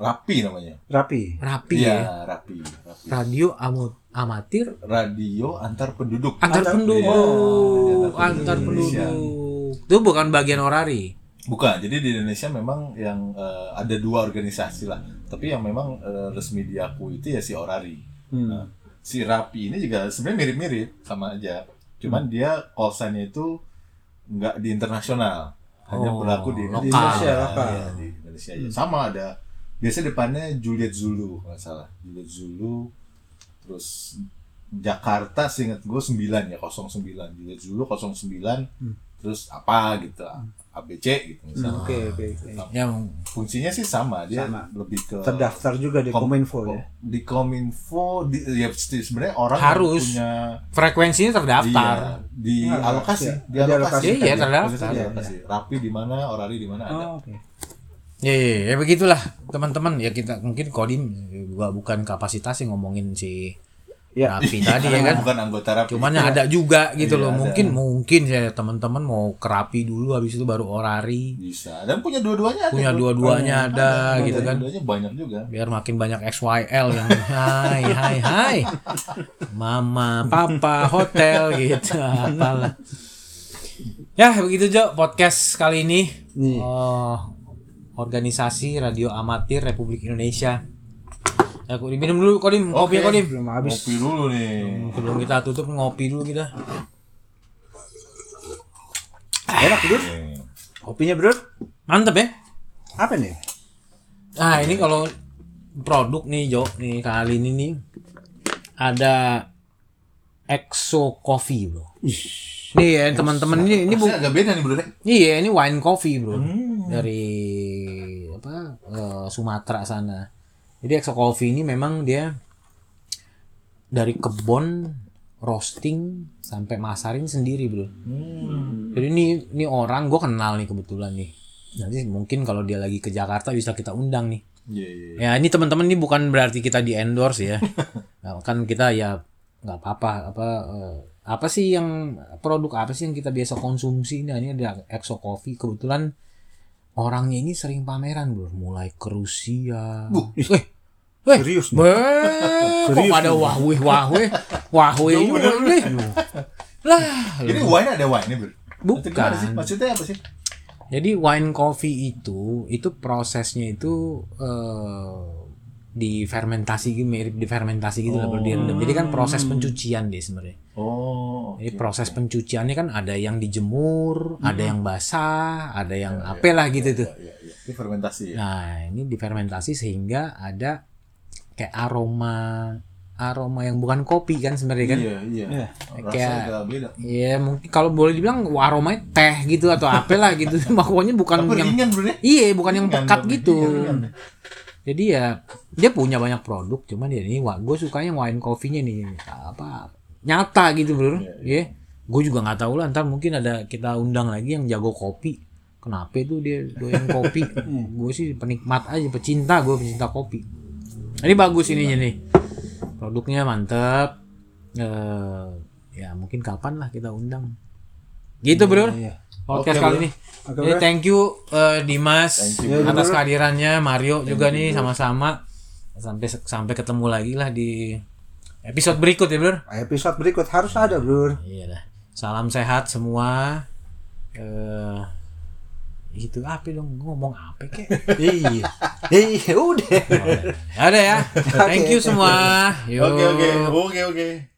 Rapi namanya. Rapi. rapi ya Iya, rapi, rapi. radio Amo- amatir radio antar penduduk. antar penduduk Antar antar penduduk Iya. Indonesia. penduduk itu bukan bagian orari Bukan, jadi di Indonesia memang yang eh, ada dua organisasi lah, tapi yang memang eh, resmi diakui itu ya si Orari. Hmm. Ah. Nah, si Rapi ini juga sebenarnya mirip-mirip sama aja, cuman dia call sign-nya itu nggak di internasional, hanya Oh, berlaku di lokal. Indonesia. Indonesia, lokal. Iya, di Indonesia aja. Sama ada, biasanya depannya Juliet Zulu, kalau nggak salah. Juliet Zulu, terus Jakarta seingat gue 9 ya, 09. Juliet Zulu 09, terus apa gitu. ABC gitu Hmm. misalnya. Oke, oke, oke. Ya, Fungsinya sih sama, dia Sama. lebih ke Terdaftar juga di Kom- Kominfo ya. Di Kominfo di, ya se- sebenarnya orang Harus. punya frekuensinya iya, terdaftar. di Iya, alokasi, iya. di alokasi. Iya, Oh. iya, Di- terdaftar. maksudnya di alokasi. Rapi di mana, orari di mana ada. Oh, oke. Ya, ya, ya, begitulah teman-teman. Ya kita mungkin Kodim gua bukan kapasitas yang ngomongin si Ya. Rapi tadi ya Karena kan. Bukan anggota rapi. Cuman ya ada juga gitu Iya, loh. ada. Mungkin mungkin ya teman-teman mau kerapi dulu habis itu baru orari. bisa dan punya dua-duanya ada. Punya Bro. dua-duanya ada, gitu kan. Dua-duanya banyak juga. biar makin banyak XYL yang hai hai hai mama papa hotel gitu apalah ya begitu Jo podcast kali ini Nih. Eh, organisasi radio amatir Republik Indonesia aku minum dulu kodim kopi Oke. kodim Belum habis. Kopi dulu nih. sebelum kita tutup ngopi dulu kita Enak, Bro. Nih. Kopinya, Bro. mantep ya Apa nih? Nah ini kalau produk nih Jo nih kali ini nih ada Exo Coffee bro. Nih ya teman-teman ini ini bu, Ini agak beda nih bro deh. iya ini wine coffee bro dari apa eh, Sumatera sana. Jadi Exo Coffee ini memang dia dari kebun roasting sampai masarin sendiri bro. Jadi ini ini orang gue kenal nih kebetulan nih. Nanti mungkin kalau dia lagi ke Jakarta bisa kita undang nih. Iya, iya. iya. Ya ini teman-teman ini bukan berarti kita di endorse ya. Nah, kan kita ya nggak apa-apa apa eh, apa sih yang produk apa sih yang kita biasa konsumsi nah ini ada Exo Coffee kebetulan orangnya ini sering pameran bro mulai ke Rusia. Eh, Weh, Serius nih. Weh, kok Serius pada nih. wahwe wahwe wahwe ini weh. lah Ini wine ada wine nih bro. Atau gimana sih? bukan Maksudnya apa sih? jadi wine coffee itu itu prosesnya itu eh difermentasi gitu mirip difermentasi gitu lah Oh. berdiam. Jadi kan proses pencucian dia sebenarnya. Oh. Jadi proses pencuciannya kan ada yang dijemur, ada Hmm. yang basah, ada yang Ya, apalah gitu tuh. Iya, iya. Ini fermentasi ya. Nah, ini difermentasi sehingga ada kayak aroma aroma yang bukan kopi kan sebenarnya kan. Iya, iya. Iya. Rasanya Kayak- agak beda. Iya, mungkin kalau boleh dibilang aromanya teh gitu atau apalah gitu. Pokoknya bukan Tapi yang ringan bro deh. Iya, bukan yang Ringan, pekat tapi gitu. iya, ringan. Jadi ya dia punya banyak produk, cuman ya ini gue sukanya wine coffee-nya nih apa nyata gitu bro. Iya. Iya, Gue juga nggak tahu lah. Ntar mungkin ada kita undang lagi yang jago kopi. Kenapa itu dia doyan kopi? gue sih penikmat aja, pecinta gue pecinta kopi. Ini bagus ininya nih. Produknya mantep. Eh, ya mungkin kapan lah kita undang. Gitu bro. Iya. Podcast Oke, kali Bro. ini. Oke, Jadi Bro. thank you eh, Dimas Thank you, Bro. atas kehadirannya Mario juga nih sama-sama sampai sampai ketemu lagi lah di episode berikut ya Bro. Episode berikut harus ada, Bro. Iya dah. Salam sehat semua. Eh itu apa dong Gua ngomong apa kek? Iya. Iya, udah. Ada ya. Thank you semua. Yo. Oke, oke. Oke, oke.